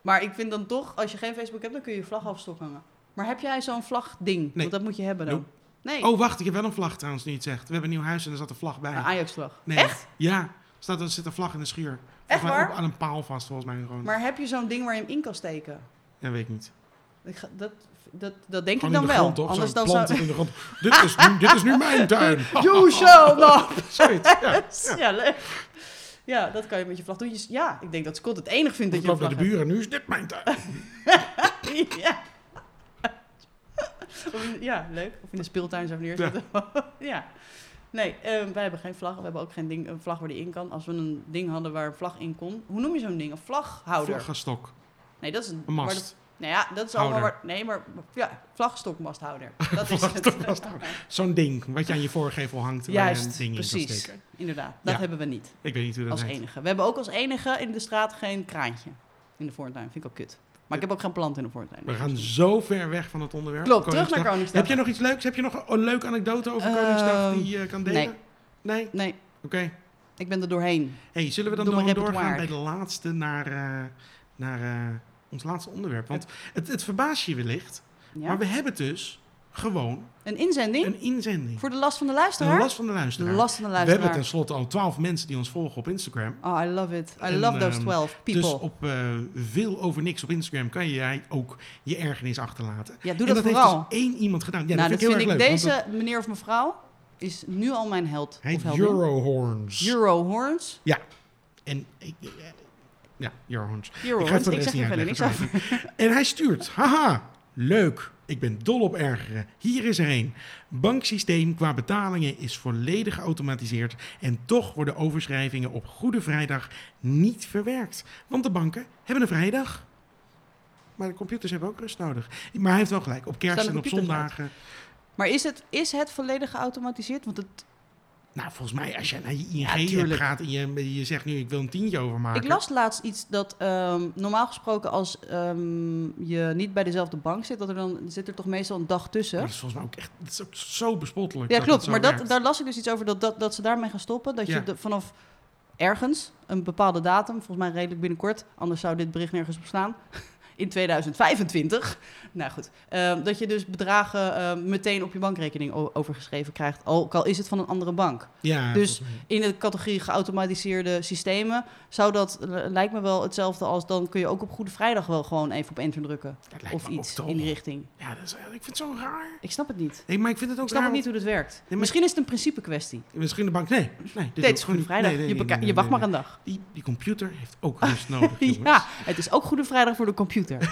[SPEAKER 2] Maar ik vind dan toch, als je geen Facebook hebt, dan kun je je vlag half stok hangen. Maar heb jij zo'n vlagding? Want dat moet je hebben dan.
[SPEAKER 1] Nope.
[SPEAKER 2] Nee,
[SPEAKER 1] Oh, wacht, ik heb wel een vlag trouwens, nu je het zegt. We hebben een nieuw huis en er zat een vlag bij.
[SPEAKER 2] een Ajax-vlag.
[SPEAKER 1] nee.
[SPEAKER 2] Echt?
[SPEAKER 1] Ja, er, staat, er zit een vlag in de schuur. Volgens
[SPEAKER 2] Echt
[SPEAKER 1] mij
[SPEAKER 2] waar?
[SPEAKER 1] op- aan een paal vast, volgens mij gewoon.
[SPEAKER 2] Maar heb je zo'n ding waar je hem in kan steken?
[SPEAKER 1] Ja, weet ik niet.
[SPEAKER 2] Ik ga- dat, dat, dat denk
[SPEAKER 1] Gewoon
[SPEAKER 2] ik
[SPEAKER 1] in
[SPEAKER 2] dan
[SPEAKER 1] de
[SPEAKER 2] wel.
[SPEAKER 1] grond, toch?
[SPEAKER 2] Anders
[SPEAKER 1] Zo'n
[SPEAKER 2] dan zou...
[SPEAKER 1] plant in de grond. dit, is nu, dit is nu mijn tuin. Oh,
[SPEAKER 2] You shall not
[SPEAKER 1] Zoiets, ja.
[SPEAKER 2] Ja. leuk. Ja, dat kan je met je vlag doen. Je- Ja, ik denk dat Scott het enig vindt dat
[SPEAKER 1] Ik
[SPEAKER 2] je een
[SPEAKER 1] loop naar
[SPEAKER 2] vlag
[SPEAKER 1] de buren en nu is dit mijn tuin.
[SPEAKER 2] hebt. Ja. Of in- Ja, leuk. Of in de speeltuin zo neerzetten. Ja. Nee, eh, wij hebben geen vlag. We hebben ook geen ding, een vlag waar die in kan. Als we een ding hadden waar een vlag in kon. Hoe noem je zo'n ding? Een vlaghouder?
[SPEAKER 1] Vlaggenstok.
[SPEAKER 2] Nee, dat is een...
[SPEAKER 1] Een
[SPEAKER 2] waar
[SPEAKER 1] mast.
[SPEAKER 2] de- nou ja, dat is allemaal...
[SPEAKER 1] Houder.
[SPEAKER 2] Waar, nee, maar ja, vlagstokmasthouder. Dat is het.
[SPEAKER 1] Vlaggenstok. Zo'n ding wat je aan je voorgevel hangt. waar je een
[SPEAKER 2] Juist,
[SPEAKER 1] ding in kan
[SPEAKER 2] precies.
[SPEAKER 1] steken.
[SPEAKER 2] Inderdaad, dat
[SPEAKER 1] Ja.
[SPEAKER 2] hebben we niet.
[SPEAKER 1] Ik weet niet hoe dat
[SPEAKER 2] Als
[SPEAKER 1] heet.
[SPEAKER 2] enige. We hebben ook als enige in de straat geen kraantje in de voortuin. Vind ik ook kut. Maar ik heb ook geen plant in de voortuin.
[SPEAKER 1] We gaan zo ver weg van het onderwerp.
[SPEAKER 2] Klopt, terug naar
[SPEAKER 1] Koningsdag.
[SPEAKER 2] Koningsdag.
[SPEAKER 1] Heb je nog iets leuks? Heb je nog een leuke anekdote over
[SPEAKER 2] Ehm,
[SPEAKER 1] Koningsdag die je kan delen?
[SPEAKER 2] nee.
[SPEAKER 1] Nee? Oké.
[SPEAKER 2] Nee, ik ben er doorheen.
[SPEAKER 1] Hey, zullen we dan
[SPEAKER 2] Doe maar
[SPEAKER 1] door- doorgaan
[SPEAKER 2] repertoire.
[SPEAKER 1] bij de laatste naar, eh, naar eh, ons laatste onderwerp? Want het, het verbaast je wellicht,
[SPEAKER 2] Ja?
[SPEAKER 1] maar we hebben dus gewoon
[SPEAKER 2] Een inzending
[SPEAKER 1] een inzending.
[SPEAKER 2] voor de last van de
[SPEAKER 1] De
[SPEAKER 2] luisteraar?
[SPEAKER 1] last van de
[SPEAKER 2] De
[SPEAKER 1] luisteraar.
[SPEAKER 2] last van de
[SPEAKER 1] We hebben
[SPEAKER 2] luisteraar.
[SPEAKER 1] tenslotte al 12 mensen die ons volgen op Instagram.
[SPEAKER 2] Oh, I love it. I
[SPEAKER 1] En,
[SPEAKER 2] love those
[SPEAKER 1] ehm,
[SPEAKER 2] 12 people.
[SPEAKER 1] Dus op eh, veel over niks op Instagram kan jij ook je ergernis achterlaten.
[SPEAKER 2] ja, doe
[SPEAKER 1] en
[SPEAKER 2] dat,
[SPEAKER 1] dat
[SPEAKER 2] vooral.
[SPEAKER 1] heeft dus één iemand gedaan. Ja,
[SPEAKER 2] nou,
[SPEAKER 1] dat
[SPEAKER 2] dat
[SPEAKER 1] vind ik heel erg leuk. want
[SPEAKER 2] deze
[SPEAKER 1] dat-
[SPEAKER 2] meneer of mevrouw is nu al mijn held.
[SPEAKER 1] Hij
[SPEAKER 2] of
[SPEAKER 1] heet
[SPEAKER 2] heldin.
[SPEAKER 1] Eurohorns.
[SPEAKER 2] Eurohorns.
[SPEAKER 1] En ik, eh, ja, Eurohorns. Ik ga het
[SPEAKER 2] Eurohorns.
[SPEAKER 1] voor
[SPEAKER 2] Ik,
[SPEAKER 1] de rest
[SPEAKER 2] zeg
[SPEAKER 1] niet
[SPEAKER 2] er verder niks
[SPEAKER 1] uitleggen,
[SPEAKER 2] over.
[SPEAKER 1] En hij stuurt, haha, leuk. Ik ben dol op ergeren. Hier is er een. Banksysteem qua betalingen is volledig geautomatiseerd en toch worden overschrijvingen op Goede Vrijdag niet verwerkt. Want de banken hebben een vrijdag. Maar de computers hebben ook rust nodig. Maar hij heeft wel gelijk. Op kerst
[SPEAKER 2] Staan de
[SPEAKER 1] en op
[SPEAKER 2] computers
[SPEAKER 1] zondagen.
[SPEAKER 2] Maar is het, is het volledig geautomatiseerd? Want het,
[SPEAKER 1] Nou, volgens mij, als je naar je ING
[SPEAKER 2] Ja,
[SPEAKER 1] hebt
[SPEAKER 2] tuurlijk.
[SPEAKER 1] gaat en je, je zegt nu, ik wil een tientje overmaken.
[SPEAKER 2] Ik las laatst iets dat ehm, normaal gesproken als ehm, je niet bij dezelfde bank zit, dat er dan zit er toch meestal een dag
[SPEAKER 1] Maar
[SPEAKER 2] tussen.
[SPEAKER 1] dat is volgens mij ook echt dat is ook zo bespottelijk.
[SPEAKER 2] Ja,
[SPEAKER 1] dat
[SPEAKER 2] klopt.
[SPEAKER 1] zo
[SPEAKER 2] maar dat,
[SPEAKER 1] werkt.
[SPEAKER 2] daar las ik dus iets over dat, dat, dat ze daarmee gaan stoppen. Dat
[SPEAKER 1] Ja.
[SPEAKER 2] je de- vanaf ergens een bepaalde datum, volgens mij redelijk binnenkort, anders zou dit bericht nergens op staan. In 2025. Nou goed. ehm, dat je dus bedragen ehm, meteen op je bankrekening o- overgeschreven krijgt. Ook al is het van een andere bank.
[SPEAKER 1] ja,
[SPEAKER 2] dus-
[SPEAKER 1] volgens mij.
[SPEAKER 2] In de categorie geautomatiseerde systemen zou dat, eh, lijkt me wel hetzelfde als dan kun je ook op Goede Vrijdag wel gewoon even op enter drukken.
[SPEAKER 1] Dat lijkt
[SPEAKER 2] Of
[SPEAKER 1] me ook
[SPEAKER 2] iets
[SPEAKER 1] dom.
[SPEAKER 2] in die richting.
[SPEAKER 1] Ja, dat is, ik vind het zo raar.
[SPEAKER 2] Ik snap het niet.
[SPEAKER 1] Nee, maar ik vind het ook
[SPEAKER 2] Ik snap
[SPEAKER 1] raar.
[SPEAKER 2] ook niet hoe dat werkt.
[SPEAKER 1] maar-
[SPEAKER 2] Misschien is het een principe kwestie.
[SPEAKER 1] want Misschien de bank, nee. nee dit
[SPEAKER 2] Nee, het is Goede Vrijdag.
[SPEAKER 1] nee, nee,
[SPEAKER 2] je
[SPEAKER 1] nee,
[SPEAKER 2] beka-
[SPEAKER 1] nee,
[SPEAKER 2] je wacht
[SPEAKER 1] nee,
[SPEAKER 2] maar een dag.
[SPEAKER 1] nee. Die, die computer heeft ook rust nodig, jongens.
[SPEAKER 2] Ja, het is ook Goede Vrijdag voor de computer.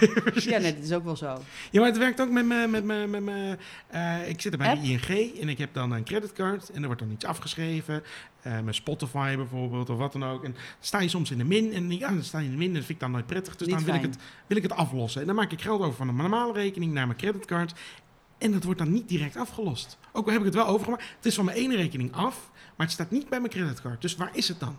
[SPEAKER 2] ja, nee, dat is ook wel zo.
[SPEAKER 1] Ja, maar het werkt ook met mijn... Met mijn, met mijn eh, ik zit er bij de ING en ik heb dan een creditcard. En er wordt dan iets afgeschreven. Eh, mijn Spotify bijvoorbeeld of wat dan ook. En dan sta je soms in de min. En dan denk ik, ah, dan sta je in de min. Dat vind ik dan nooit prettig. Dus
[SPEAKER 2] Niet
[SPEAKER 1] dan wil ik,
[SPEAKER 2] fijn.
[SPEAKER 1] het, wil ik het aflossen. En dan maak ik geld over van een normale rekening naar mijn creditcard. En dat wordt dan niet direct afgelost. Ook al heb ik het wel overgemaakt. Het is van mijn ene rekening af. Maar het staat niet bij mijn creditcard. Dus waar is het dan?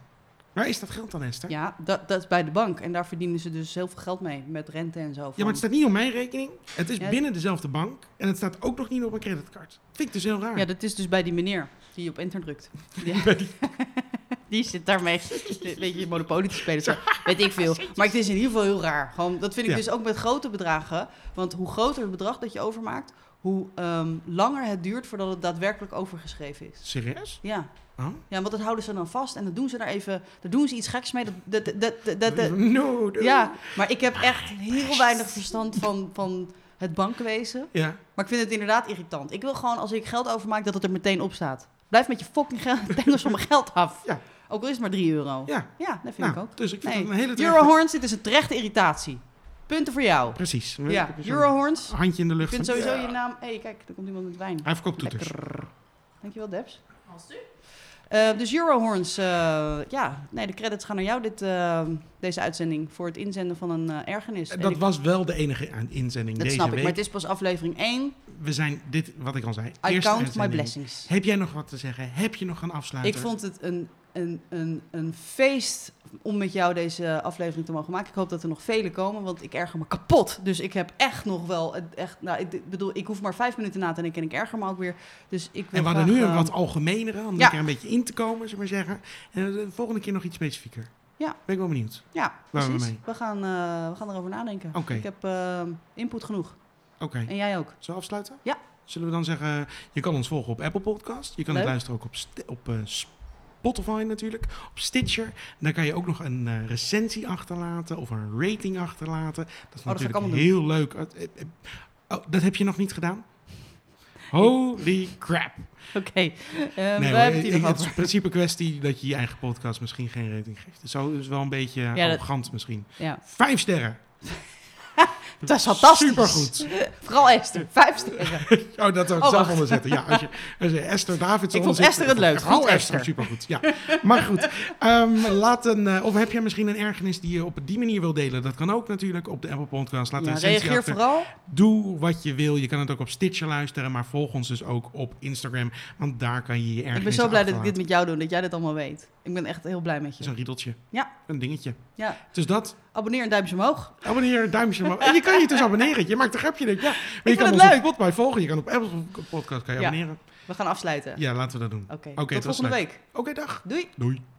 [SPEAKER 1] Waar is dat geld dan, Esther? Ja,
[SPEAKER 2] Ja, dat, dat is bij de bank. En daar verdienen ze dus heel veel geld mee. Met rente en zo.
[SPEAKER 1] maar het
[SPEAKER 2] van-
[SPEAKER 1] staat niet op mijn rekening. Het is
[SPEAKER 2] Ja.
[SPEAKER 1] binnen dezelfde bank. En het staat ook nog niet op mijn creditcard. Vind ik dus heel raar.
[SPEAKER 2] ja, dat is dus bij die meneer die op enter drukt. Ja. Die zit daarmee een beetje Monopoly te spelen. Zo, weet ik veel. Maar het is in ieder geval heel raar. Gewoon, dat vind ik
[SPEAKER 1] Ja.
[SPEAKER 2] dus ook met grote bedragen. Want hoe groter het bedrag dat je overmaakt, hoe ehm, langer het duurt voordat het daadwerkelijk overgeschreven is.
[SPEAKER 1] Serieus?
[SPEAKER 2] Ja.
[SPEAKER 1] Oh.
[SPEAKER 2] ja, want dat houden ze dan vast en dan doen ze daar even, daar doen ze iets geks mee. Dat, dat, dat, dat, dat, dat-
[SPEAKER 1] no, no.
[SPEAKER 2] ja, maar ik heb echt heel weinig verstand van, van het bankwezen.
[SPEAKER 1] Ja.
[SPEAKER 2] Maar ik vind het inderdaad irritant. Ik wil gewoon, als ik geld overmaak, dat het er meteen op staat. Blijf met je fucking geld, tengels van mijn geld af.
[SPEAKER 1] Ja.
[SPEAKER 2] Ook al is het maar 3 euro.
[SPEAKER 1] Ja.
[SPEAKER 2] Ja, dat vind
[SPEAKER 1] Nou,
[SPEAKER 2] ik ook.
[SPEAKER 1] Dus ik vind
[SPEAKER 2] Nee.
[SPEAKER 1] het een hele terechte-
[SPEAKER 2] Eurohorns, dit is een terechte irritatie. Punten voor jou.
[SPEAKER 1] Precies. Ik
[SPEAKER 2] Ja,
[SPEAKER 1] heb zo'n
[SPEAKER 2] Eurohorns.
[SPEAKER 1] Handje in de
[SPEAKER 2] Ik
[SPEAKER 1] lucht.
[SPEAKER 2] vind
[SPEAKER 1] van-
[SPEAKER 2] sowieso
[SPEAKER 1] Ja.
[SPEAKER 2] je naam... Hé, hey, kijk, er komt iemand met wijn.
[SPEAKER 1] Hij verkoopt toeters.
[SPEAKER 2] Lekker. Dankjewel, Debs. Eh dus Eurohorns, eh, ja, nee, de credits gaan naar jou dit, eh, deze uitzending voor het inzenden van een eh, ergernis. En
[SPEAKER 1] Dat
[SPEAKER 2] ik-
[SPEAKER 1] was wel de enige aan inzending
[SPEAKER 2] dat
[SPEAKER 1] deze
[SPEAKER 2] snap ik,
[SPEAKER 1] week.
[SPEAKER 2] maar het is pas aflevering 1.
[SPEAKER 1] We zijn dit, wat ik al zei.
[SPEAKER 2] I
[SPEAKER 1] eerste
[SPEAKER 2] count my
[SPEAKER 1] uitzending.
[SPEAKER 2] blessings.
[SPEAKER 1] Heb jij nog wat te zeggen? Heb je nog een afsluiter?
[SPEAKER 2] Ik vond het een, een, een, een feest om met jou deze aflevering te mogen maken. Ik hoop dat er nog vele komen, want ik erger me kapot. Dus ik heb echt nog wel... het- Echt, nou, ik ik bedoel, ik hoef maar vijf minuten na te denken en ik erger me ook weer. Dus ik wil
[SPEAKER 1] en we hadden nu
[SPEAKER 2] graag,
[SPEAKER 1] een
[SPEAKER 2] eh,
[SPEAKER 1] wat algemenere, om
[SPEAKER 2] ja.
[SPEAKER 1] er een beetje in te komen, zullen we maar zeggen. En de volgende keer nog iets specifieker.
[SPEAKER 2] Ja.
[SPEAKER 1] Ben ik wel benieuwd.
[SPEAKER 2] Ja,
[SPEAKER 1] Waar we
[SPEAKER 2] precies.
[SPEAKER 1] mee?
[SPEAKER 2] We gaan, eh, we gaan erover nadenken.
[SPEAKER 1] Oké.
[SPEAKER 2] Ik heb eh, input genoeg.
[SPEAKER 1] Oké.
[SPEAKER 2] En jij ook.
[SPEAKER 1] Zullen we afsluiten?
[SPEAKER 2] Ja.
[SPEAKER 1] Zullen we dan zeggen, je kan ons volgen op Apple Podcast. Je kan het
[SPEAKER 2] Leuk.
[SPEAKER 1] luisteren ook op, Sti- op eh, Spotify natuurlijk, op Stitcher. En daar kan je ook nog een eh, recensie achterlaten of een rating achterlaten. Dat is
[SPEAKER 2] Oh, dat ga ik
[SPEAKER 1] natuurlijk
[SPEAKER 2] allemaal doen.
[SPEAKER 1] heel leuk. Eh, eh, eh, Oh, dat heb je nog niet gedaan? Holy crap.
[SPEAKER 2] Oké. Eh, we
[SPEAKER 1] hoor,
[SPEAKER 2] hebben het
[SPEAKER 1] ik-
[SPEAKER 2] hier nog
[SPEAKER 1] het is
[SPEAKER 2] over.
[SPEAKER 1] een principe kwestie dat je je eigen podcast misschien geen rating geeft. Zo is wel een beetje
[SPEAKER 2] dat-
[SPEAKER 1] arrogant misschien.
[SPEAKER 2] Ja.
[SPEAKER 1] Vijf sterren.
[SPEAKER 2] Dat is fantastisch.
[SPEAKER 1] Supergoed.
[SPEAKER 2] Vooral Esther. Vijf sterren.
[SPEAKER 1] Oh, dat zou ik
[SPEAKER 2] Oh,
[SPEAKER 1] zelf
[SPEAKER 2] wacht.
[SPEAKER 1] onderzetten. Ja, als je, als je Esther Davids
[SPEAKER 2] Ik vond
[SPEAKER 1] onderzet-
[SPEAKER 2] Esther het leuk.
[SPEAKER 1] Vooral
[SPEAKER 2] Goed,
[SPEAKER 1] Esther,
[SPEAKER 2] Esther.
[SPEAKER 1] supergoed. Ja. Maar goed, ehm, laat een, eh, of heb jij misschien een ergernis die je op die manier wil delen? Dat kan ook natuurlijk op de Apple Podcast. Laat
[SPEAKER 2] Ja,
[SPEAKER 1] een recensie
[SPEAKER 2] Nou, reageer
[SPEAKER 1] achter.
[SPEAKER 2] vooral.
[SPEAKER 1] Doe wat je wil. Je kan het ook op Stitcher luisteren, maar volg ons dus ook op Instagram. Want daar kan je je ergernis
[SPEAKER 2] Ik ben zo blij dat ik dit met jou doe. Dat jij dit allemaal weet. Ik ben echt heel blij met
[SPEAKER 1] is
[SPEAKER 2] je.
[SPEAKER 1] een riedeltje.
[SPEAKER 2] Ja.
[SPEAKER 1] Een dingetje.
[SPEAKER 2] Ja.
[SPEAKER 1] Dus dat.
[SPEAKER 2] Abonneer en duimpje omhoog.
[SPEAKER 1] Abonneer, duimpje omhoog. En je kan je dus abonneren. Je maakt een grapje. Denk. ik. Ja. Maar je
[SPEAKER 2] vind
[SPEAKER 1] kan
[SPEAKER 2] het
[SPEAKER 1] ons op
[SPEAKER 2] leuk.
[SPEAKER 1] Spotify volgen. Je kan op Apple Podcast kan je
[SPEAKER 2] Ja.
[SPEAKER 1] abonneren.
[SPEAKER 2] We gaan afsluiten.
[SPEAKER 1] Ja, laten we dat doen.
[SPEAKER 2] Oké.
[SPEAKER 1] Oké,
[SPEAKER 2] Tot
[SPEAKER 1] dat is
[SPEAKER 2] volgende
[SPEAKER 1] leuk.
[SPEAKER 2] week.
[SPEAKER 1] Oké, dag.
[SPEAKER 2] Doei.
[SPEAKER 1] Doei.